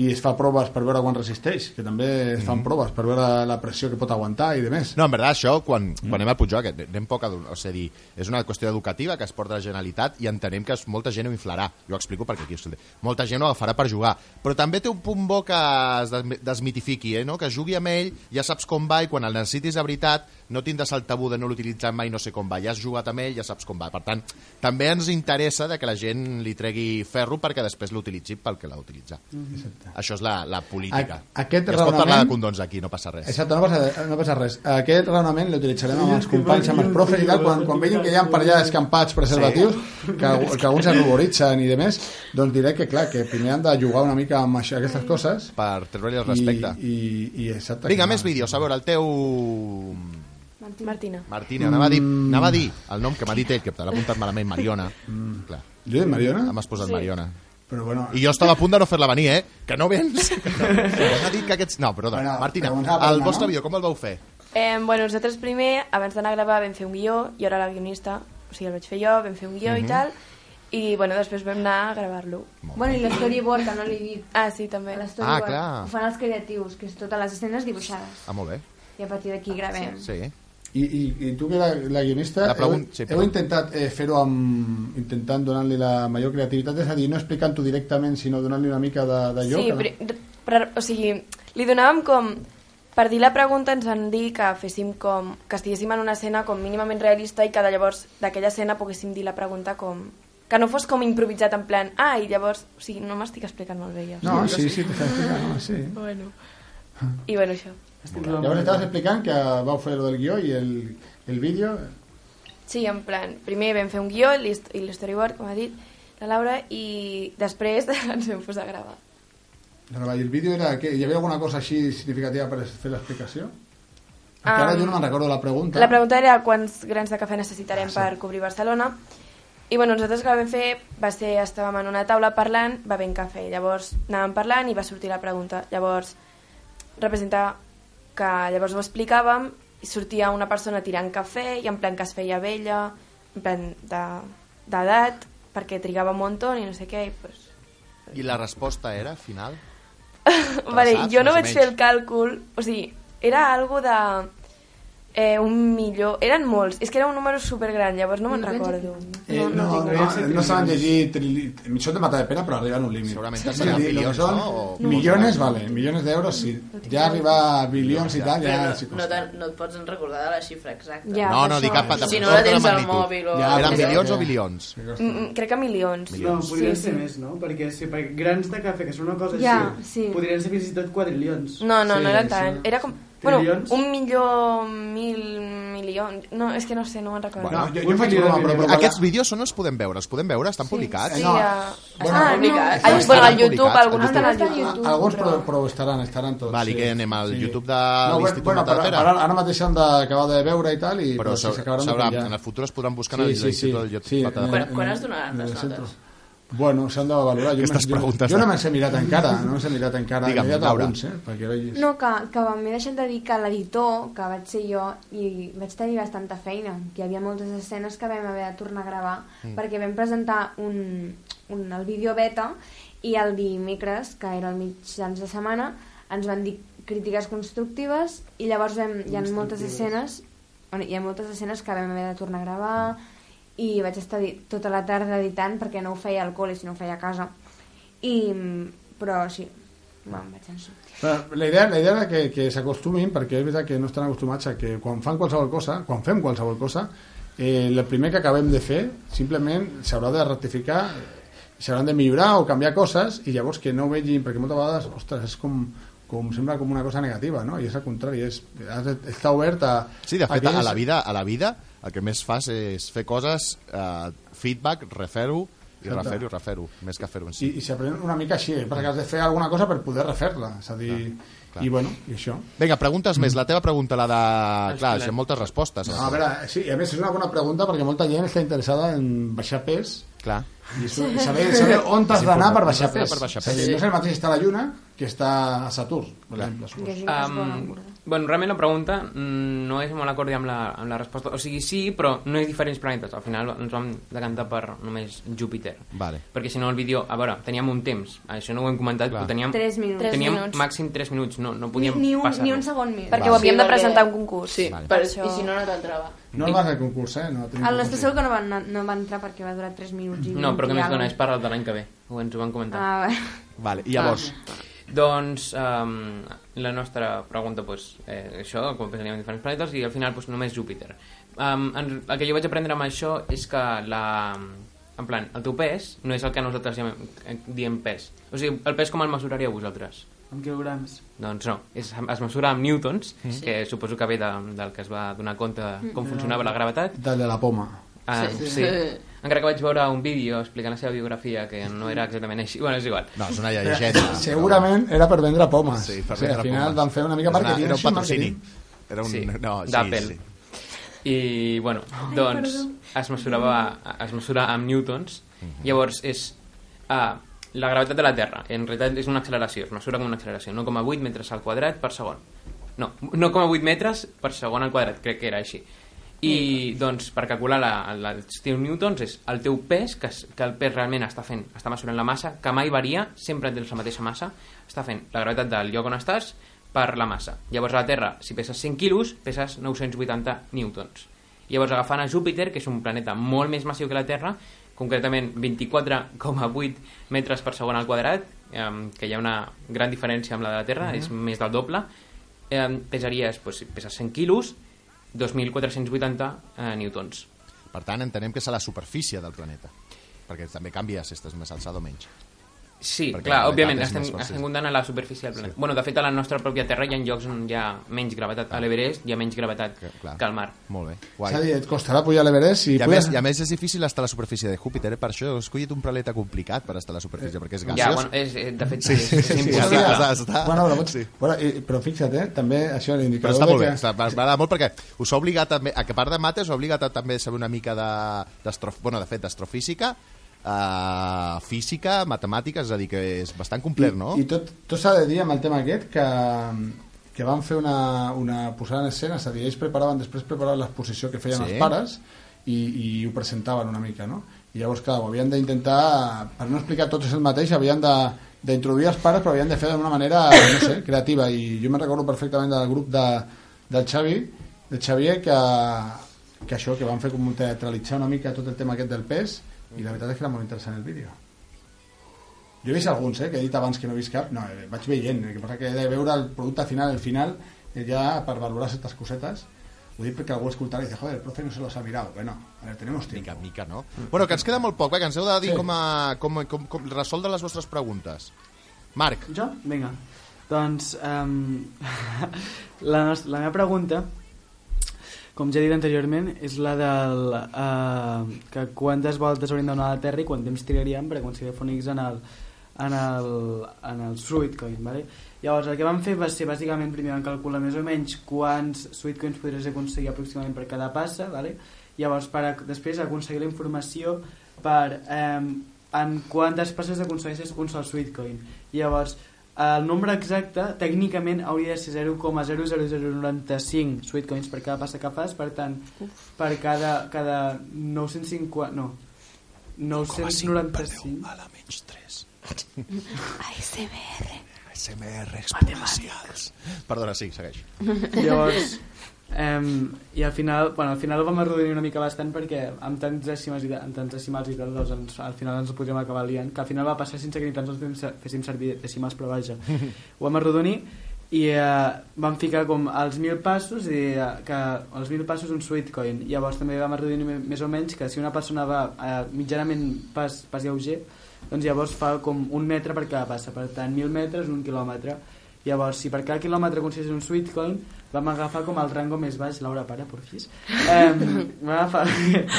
i es fa proves per veure quan resisteix, que també es fan proves per veure la pressió que pot aguantar i de més.
Mhm. No, en veritat, això, quan, quan anem a Puigjoc, anem poc a... O sigui, és una qüestió educativa que es porta a la Generalitat i entenem que es- molta gent ho inflarà. Jo ho explico perquè aquí... us ho dic. Molta gent ho agafarà per jugar. Però també té un punt bo que es desmi- desmitifiqui, eh, no? que jugui amb ell, ja saps com va i quan el necessitis de veritat no tindràs el tabú de no l'utilitzar mai no sé com va. Ja has jugat amb ell, ja saps com va. Per tant, també ens interessa de que la gent li tregui ferro perquè després l'utilitzi pel que l'ha d'utilitzar. Això és la, la política.
A- aquest
I es pot parlar
raonament-
de condons aquí, no passa res.
Exacte, no passa, no passa res. Aquest raonament l'utilitzarem amb els companys, amb els profes i tal, quan, quan veiem que hi ha per allà escampats preservatius, que, algú- que alguns es ruboritzen i de més, doncs diré que, clar, que primer han de jugar una mica amb això, aquestes coses
per treure-li el
i,
respecte.
i, i exacte.
Vinga,
que-
més vídeos. A veure, el teu...
Martina.
Martina, anava a dir,
Mm.
anava a dir el nom que m'ha dit ell, que te l'ha apuntat malament, Mariona. Clar,
Jo dic Mm. Mariona?
m'has posat Mariona.
Però bueno,
I jo estava a punt de no fer-la venir, eh? Que no vens. M'ha dit que aquests... No, perdona.
Bueno,
Martina,
però una
el
bona,
vostre
no?
vídeo, com el vau fer?
Eh, bueno, nosaltres primer, abans d'anar a gravar, vam fer un guió, i ara la guionista, o sigui, el vaig fer jo, vam fer un guió
Mhm.
i tal, i bueno, després vam anar a gravar-lo.
Bueno, i l'storyboard, que no l'he dit.
Ah, sí, també.
L'storyboard.
Ah, clar.
Ho fan els creatius, que és totes les escenes dibuixades.
Ah, molt bé.
I a partir d'aquí gravem.
Sí.
I, i, i tu que la, la guionista
La pregun-
heu,
sí,
heu
pregun-
intentat eh, fer-ho amb intentant donar-li la major creativitat és a dir, no explicant-ho directament sinó donant-li una mica de- d'allò
Sí,
que-
pri- per, o sigui, li donàvem com... Per dir la pregunta ens van dir que féssim com... que estiguéssim en una escena com mínimament realista i que de llavors d'aquella escena poguéssim dir la pregunta com... que no fos com improvisat en plan... Ah, i llavors... O sigui, no m'estic explicant molt bé ja.
no, sí, sí, t'estàs explicant, home, sí.
Bueno. I bueno, això.
llavors estaves explicant que vau fer el guió i el, el vídeo
Sí, en plan, primer vam fer un guió i l'hist- i l'storyboard, com ha dit la Laura, i després ens vam posar a gravar.
Però i el vídeo era que hi havia alguna cosa així significativa per fer l'explicació? Perquè ara
Um,
jo no me'n recordo la pregunta.
La pregunta era quants grans de cafè necessitarem per cobrir Barcelona. I bueno, nosaltres que vam fer va ser, estàvem en una taula parlant, va ben cafè. Llavors anàvem parlant i va sortir la pregunta. Llavors representa que llavors ho explicàvem i sortia una persona tirant cafè i en plan que es feia vella, en plan de- d'edat, de, perquè trigava un muntó i no sé què. I pues...
I la resposta era, final?
vale,
saps,
jo no
més o
vaig
menys.
fer el càlcul, o sigui, era algo de... Eh, un millor... Eren molts. És que era un número supergran, llavors no me'n recordo.
Eh, no, no, no, no, no saben llegir trili... Això te mata de pena, però arriben a un límit.
Segurament
És a
seran
dir, el que
milions,
són
no? O-
Milions, vale, milions d'euros, sí. Ja arribar a bilions i tal, Ah, ja...
Però
sí,
no, no, te, no et pots recordar de la xifra exacta.
Ja,
No,
per
no,
això.
dic cap... de-
Si no
ordre
la
de
tens al
magnitud.
mòbil o...
Ja,
Eren
però-
milions o bilions?
Mm, mm, crec que milions.
No, podrien
Sí,
ser
sí.
més, no? Perquè si per grans de cafè, que són una cosa
Ja,
així,
sí.
podrien ser fins i tot quadrilions.
No, no,
Sí,
no era
sí.
tant. Era com... Bueno,
Milions?
un millor mil milions... No, és que no sé, no me'n recordo.
No,
Bueno,
jo, jo faig broma, però... però
Aquests vídeos són els podem veure, els podem veure, estan publicats.
sí,
no.
a...
Bueno,
ah, no.
publicats.
Al, bueno, al
Estan
YouTube,
publicats,
alguns
al
estan al
YouTube.
YouTube.
YouTube.
Alguns però, però estaran, estaran tots.
Vale, i
sí.
què anem al
Sí.
YouTube de
No,
l'Institut
bueno, però,
Matadepera?
ara, ara mateix han d'acabar de veure i tal, i,
Però,
si
s'haurà,
s'acabaran de
s'haurà-
penjar.
en el futur es podran buscar en l'Institut del YouTube. Matadepera.
Quan- quan es donaran les notes?
Bueno, s'han de valorar. Jo,
Aquestes
me-
preguntes
jo, jo no
de-
me les he mirat encara, no me les he mirat encara.
Digue'm,
He mirat
Laura.
alguns, eh? Perquè ara hi és...
No, que, que m'he deixat de dir que l'editor, que vaig ser jo, i vaig tenir bastanta feina, que hi havia moltes escenes que vam haver de tornar a gravar, mm. perquè vam presentar un, un, el vídeo beta i el dimecres, que era el mitjans de setmana, ens van dir crítiques constructives i llavors vam, hi ha moltes escenes bueno, hi ha moltes escenes que vam haver de tornar a gravar i vaig estar di- tota la tarda editant perquè no ho feia al col·le, sinó ho feia a casa. I, mm, però sí, me'n vaig en sortir.
Però La idea, la idea era que, que s'acostumin, perquè és veritat que no estan acostumats a que quan fan qualsevol cosa, quan fem qualsevol cosa, eh, el primer que acabem de fer, simplement s'haurà de rectificar, s'hauran de millorar o canviar coses, i llavors que no ho vegin, perquè moltes vegades, ostres, és com, com sembla com una cosa negativa, no? I és al contrari, és, has de- està obert a...
Sí, de fet,
aquelles-
a la vida, a la vida el que més fas és fer coses, eh, feedback, refer-ho,
Exacte.
i refer-ho, i refer-ho, més que fer-ho
I,
en si.
i s'aprèn una mica així, eh? perquè has de fer alguna cosa per poder refer-la, és a dir...
clar.
I bueno, i això.
Vinga, preguntes més. La teva pregunta, la de... Clar,
filet.
hi ha moltes respostes. eh?
No, Mm. a veure, sí, i a més és una bona pregunta perquè molta gent està interessada en baixar pes
Clar.
i és- saber, saber on t'has d'anar per baixar
On has d'anar
pes.
per baixar
És a dir,
pes.
No és el mateix estar a la Lluna que estar a Saturn, per exemple.
Que
surts.
gent que es vol
Um,
enamorar.
bueno, realment la pregunta mm, no és molt acordi amb la, amb la resposta. O sigui, sí, però no és diferents planetes. Al final ens vam decantar per només Júpiter.
Vale.
Perquè si no el vídeo... A veure, teníem un temps. Això no ho hem comentat,
Clar.
però teníem...
Tres minuts.
Tres
teníem
minuts.
màxim 3 minuts. No, no
Ni,
podíem
ni, un,
passar
ni un segon minut.
Perquè ho havíem de presentar a un concurs.
Sí,
Vale.
per,
Això-
i si no, no t'entrava.
No el vas al concurs, eh? No, tenim
El nostre
concurs.
segur que no va, no, no va entrar perquè va durar 3 minuts i
No, però que
i
més
alguna
dona, és per al de l'any que ve. Ho ens ho van comentar.
Ah, va.
Vale, i llavors...
Doncs um, la nostra pregunta, doncs, eh, això, com pensaríem en diferents planetes, i al final doncs, només Júpiter. Um, en, el que jo vaig aprendre amb això és que la, en plan, el teu pes no és el que nosaltres llamem, eh, diem pes. O sigui, el pes com el mesuraríeu vosaltres?
Amb quilograms.
Doncs no, és, es mesura amb newtons, que suposo que ve de, del que es va donar compte de com funcionava la gravetat.
Del de la poma.
Ah,
Sí.
sí. sí. Encara que vaig veure un vídeo explicant la seva biografia, que no era exactament així. Bueno, és igual.
No, és una llegenda.
Segurament era per vendre pomes.
Sí, per
o sigui,
vendre
al final
pomes.
van fer una mica
Era
marketing.
Era un
així,
patrocini.
marketing.
Era un...
Sí,
No, sí,
d'Apple.
sí.
I, bueno, doncs es mesurava, es mesura amb newtons. Llavors, és ah, la gravetat de la Terra. En realitat és una acceleració, es mesura com una acceleració. 9,8 metres al quadrat per segon. No, 9,8 metres per segon al quadrat, crec que era així. I, doncs, per calcular la, la, els teus newtons és el teu pes, que, es, que el pes realment està fent, està mesurant la massa, que mai varia, sempre tens la mateixa massa, està fent la gravetat del lloc on estàs per la massa. Llavors a la Terra, si peses 100 quilos, peses 980 newtons. Llavors agafant a Júpiter, que és un planeta molt més massiu que la Terra, concretament 24,8 metres per segon al quadrat, eh, que hi ha una gran diferència amb la de la Terra, és més del doble, eh, pesaries, doncs, si peses 100 quilos, 2.480 eh, newtons.
Per tant, entenem que és a la superfície del planeta. Perquè també canvia si estàs més alçada o menys.
Sí,
Perquè
clar,
la
òbviament,
gravetat és
estem,
més fàcil.
estem comptant a la superfície del planeta. Sí. Bueno, de fet, a la nostra pròpia Terra hi ha llocs on hi ha menys gravetat.
Ah.
A l'Everest hi ha menys gravetat que, que al mar.
Molt bé.
És
Guai.
a dir, et costarà pujar a l'Everest si
I a, més, I a més és difícil estar a la superfície de Júpiter, eh? per això he escollit un planeta complicat per estar a la superfície, perquè és gaseós.
Ja, bueno, és, eh, de fet, sí, és, és
sí,
impossible.
està, està, està.
Bueno, però, pots...
Sí.
sí. bueno, i, però fixa't, eh? també això és
Però
l'indicador...
està
de
molt bé,
que-
està, m'agrada molt perquè us ha obligat també, a que a part de mates, us ha obligat a també saber una mica de- d'astro... Bueno, de fet, d'astrofísica, uh, física, matemàtiques, és a dir, que és bastant complet, no?
I, i tot, tot s'ha de dir amb el tema aquest que, que van fer una, una posada en escena, és a dir, ells preparaven, després preparaven l'exposició que feien
Sí.
sí. els pares i, i ho presentaven una mica, no? I llavors, clar, ho havien d'intentar, per no explicar tot és el mateix, havien de d'introduir els pares però havien de fer d'una manera no sé, creativa i jo me'n recordo perfectament del grup de, del Xavi de Xavier que, que això que van fer com teatralitzar una mica tot el tema aquest del pes i la veritat és que era molt interessant el vídeo jo he vist alguns, eh, que he dit abans que no he vist cap. No, eh, vaig veient, el que passa que he de veure el producte final, el final, eh, ja per valorar certes cosetes. Ho dic perquè algú escoltarà i dice, joder, el profe no se los ha mirado. Bueno, a ver, tenemos tiempo.
Mica, en mica, no? Bueno, que ens queda molt poc, va, que ens heu de dir com, a, com, com, com resoldre les vostres preguntes. Marc,
Jo? Vinga. Doncs um, la, nos- la meva pregunta, com ja he dit anteriorment, és la del uh, que quantes voltes hauríem de donar a la Terra i quant temps trigaríem per aconseguir Fonix en el, en el, en el Sweetcoin. Vale? Llavors, el que vam fer va ser, bàsicament, primer vam calcular més o menys quants Sweetcoins podries aconseguir aproximadament per cada passa, vale? llavors per, ac- després aconseguir la informació per eh, en quantes passes aconsegueixes un sol Sweetcoin. Llavors, el nombre exacte tècnicament hauria de ser 0,00095 Sweetcoins per cada passa que fas, per tant, per cada, cada 950... No, 995...
ASMR.
perdona, sí, segueix.
Llavors, em, i al final, bueno, al final ho vam arrodonir una mica bastant perquè amb tants decimals i, ta- amb tants decimals i tal, doncs ens, al final ens ho podríem acabar liant, que al final va passar sense que ni tan sols fem ser- féssim servir decimals, però vaja. ho vam arrodonir i eh, vam ficar com els 1.000 passos i eh, que els 1.000 passos un sweetcoin. Llavors també vam arrodonir me- més o menys que si una persona va eh, mitjanament pas, pas lleuger, doncs llavors fa com un metre per cada passa, per tant 1.000 metres, un quilòmetre. Llavors, si per cada quilòmetre aconseguís un sweetcoin, vam agafar com el rango més baix, Laura, para, porfis. Eh, vam, agafar,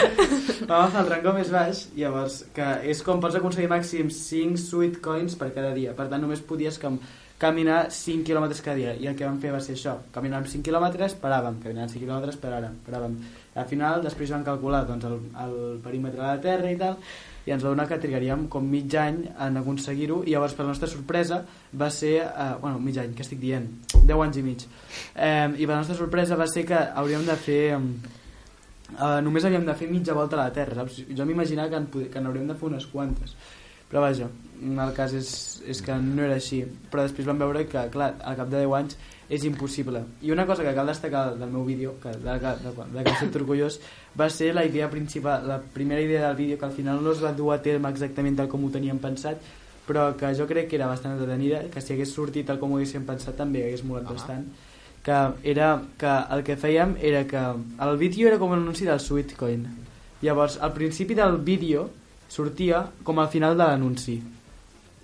vam agafar el rango més baix, llavors, que és com pots aconseguir màxim 5 sweetcoins per cada dia. Per tant, només podies com caminar 5 quilòmetres cada dia. I el que vam fer va ser això, caminàvem 5 quilòmetres, paràvem, caminàvem 5 quilòmetres, paràvem, paràvem. Al final, després vam calcular doncs, el, el perímetre de la Terra i tal, i ens va donar que trigaríem com mig any en aconseguir-ho i llavors per la nostra sorpresa va ser, eh, bueno, mig any, que estic dient 10 anys i mig eh, i per la nostra sorpresa va ser que hauríem de fer eh, només havíem de fer mitja volta a la Terra saps? jo m'imaginava que, en, pod- que n'hauríem de fer unes quantes però vaja, el cas és, és que no era així però després vam veure que, clar, al cap de 10 anys és impossible. I una cosa que cal destacar del meu vídeo, que, de, de, de, de que em sento orgullós, va ser la idea principal, la primera idea del vídeo, que al final no es va dur a terme exactament tal com ho teníem pensat, però que jo crec que era bastant entretenida, que si hagués sortit tal com ho haguéssim pensat també hagués molat ah. bastant, que era que el que fèiem era que el vídeo era com un anunci del Sweetcoin. Llavors, al principi del vídeo sortia com al final de l'anunci.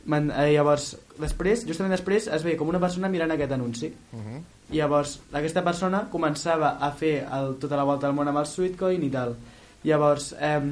Man, eh, llavors, després, justament després, es veia com una persona mirant aquest anunci. Uh -huh. Llavors, aquesta persona començava a fer el, tota la volta al món amb el Sweetcoin i tal. Llavors, ehm,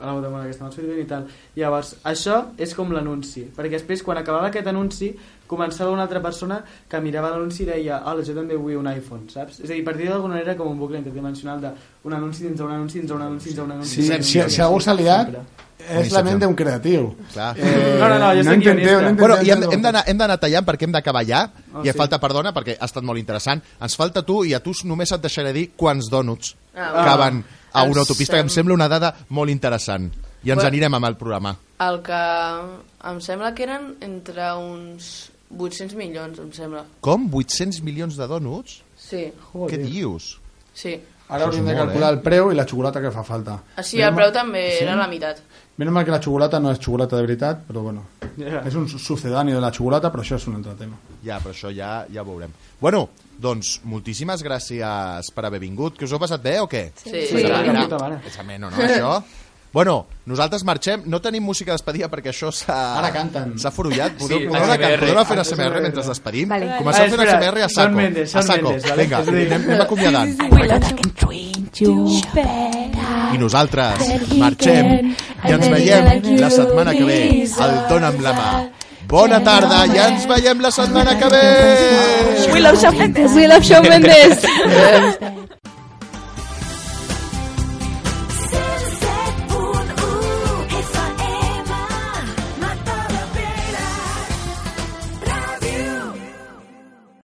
a la volta al món aquesta amb el Sweetcoin i tal. Llavors, això és com l'anunci. Perquè després, quan acabava aquest anunci, començava una altra persona que mirava l'anunci i deia hola, jo també vull un iPhone, saps? És a dir, partir d'alguna manera era com un bucle interdimensional d'un anunci dins d'un anunci dins d'un anunci dins d'un anunci.
Si,
dins d'un
si,
anunci.
si algú s'ha liat,
Sempre.
és la ment d'un creatiu.
Clar.
eh,
No, no, no, jo soc
intenteu,
guionista.
intenteu
Bueno, i hem,
entendre-ho.
hem d'anar hem d'anar tallant perquè hem d'acabar ja
Ah,
oh, i
sí.
sí. falta perdona perquè ha estat molt interessant ens falta tu i a tu només et deixaré dir quants dònuts
Ah,
ah, caben a
Ens
una autopista que em
sem-
sembla una dada molt interessant i ens
Bueno.
anirem amb el programa
El que em sembla que eren entre uns 800 milions, em sembla.
com? 800 milions de dònuts?
Sí,
Què dius?
sí.
Ara hauríem de
molt, eh?
calcular el preu i la xocolata que fa falta.
Així el preu també era la meitat.
Menys mal que la xocolata no és xocolata de veritat, però bueno.
Ja.
És un sucedani de la xocolata, però això és un altre tema.
Ja, però això ja, ja ho veurem. Bueno, doncs moltíssimes gràcies per haver vingut. Que us ho heu passat bé o què?
Sí. Sí.
Pensava que era-
De puta mare.
Pensava, no, no, això... Bueno, nosaltres marxem, no tenim música d'espedia perquè això s'ha...
Ara canten.
S'ha forullat. Podeu,
Sí,
podeu, anar,
ASMR.
cantant, podeu anar fent ASMR mentre es despedim?
Vale.
Comencem
Vale,
fent
espera.
ASMR a
Shawn
saco.
Mendes,
a
Shawn
saco.
Mendes, vale?
Vinga,
És a dir-
anem, anem acomiadant. I nosaltres marxem i ens veiem la setmana que ve al Dona'm la mà. Bona tarda i ens veiem la setmana que ve!
We love Shawn Mendes, we love Shawn Mendes.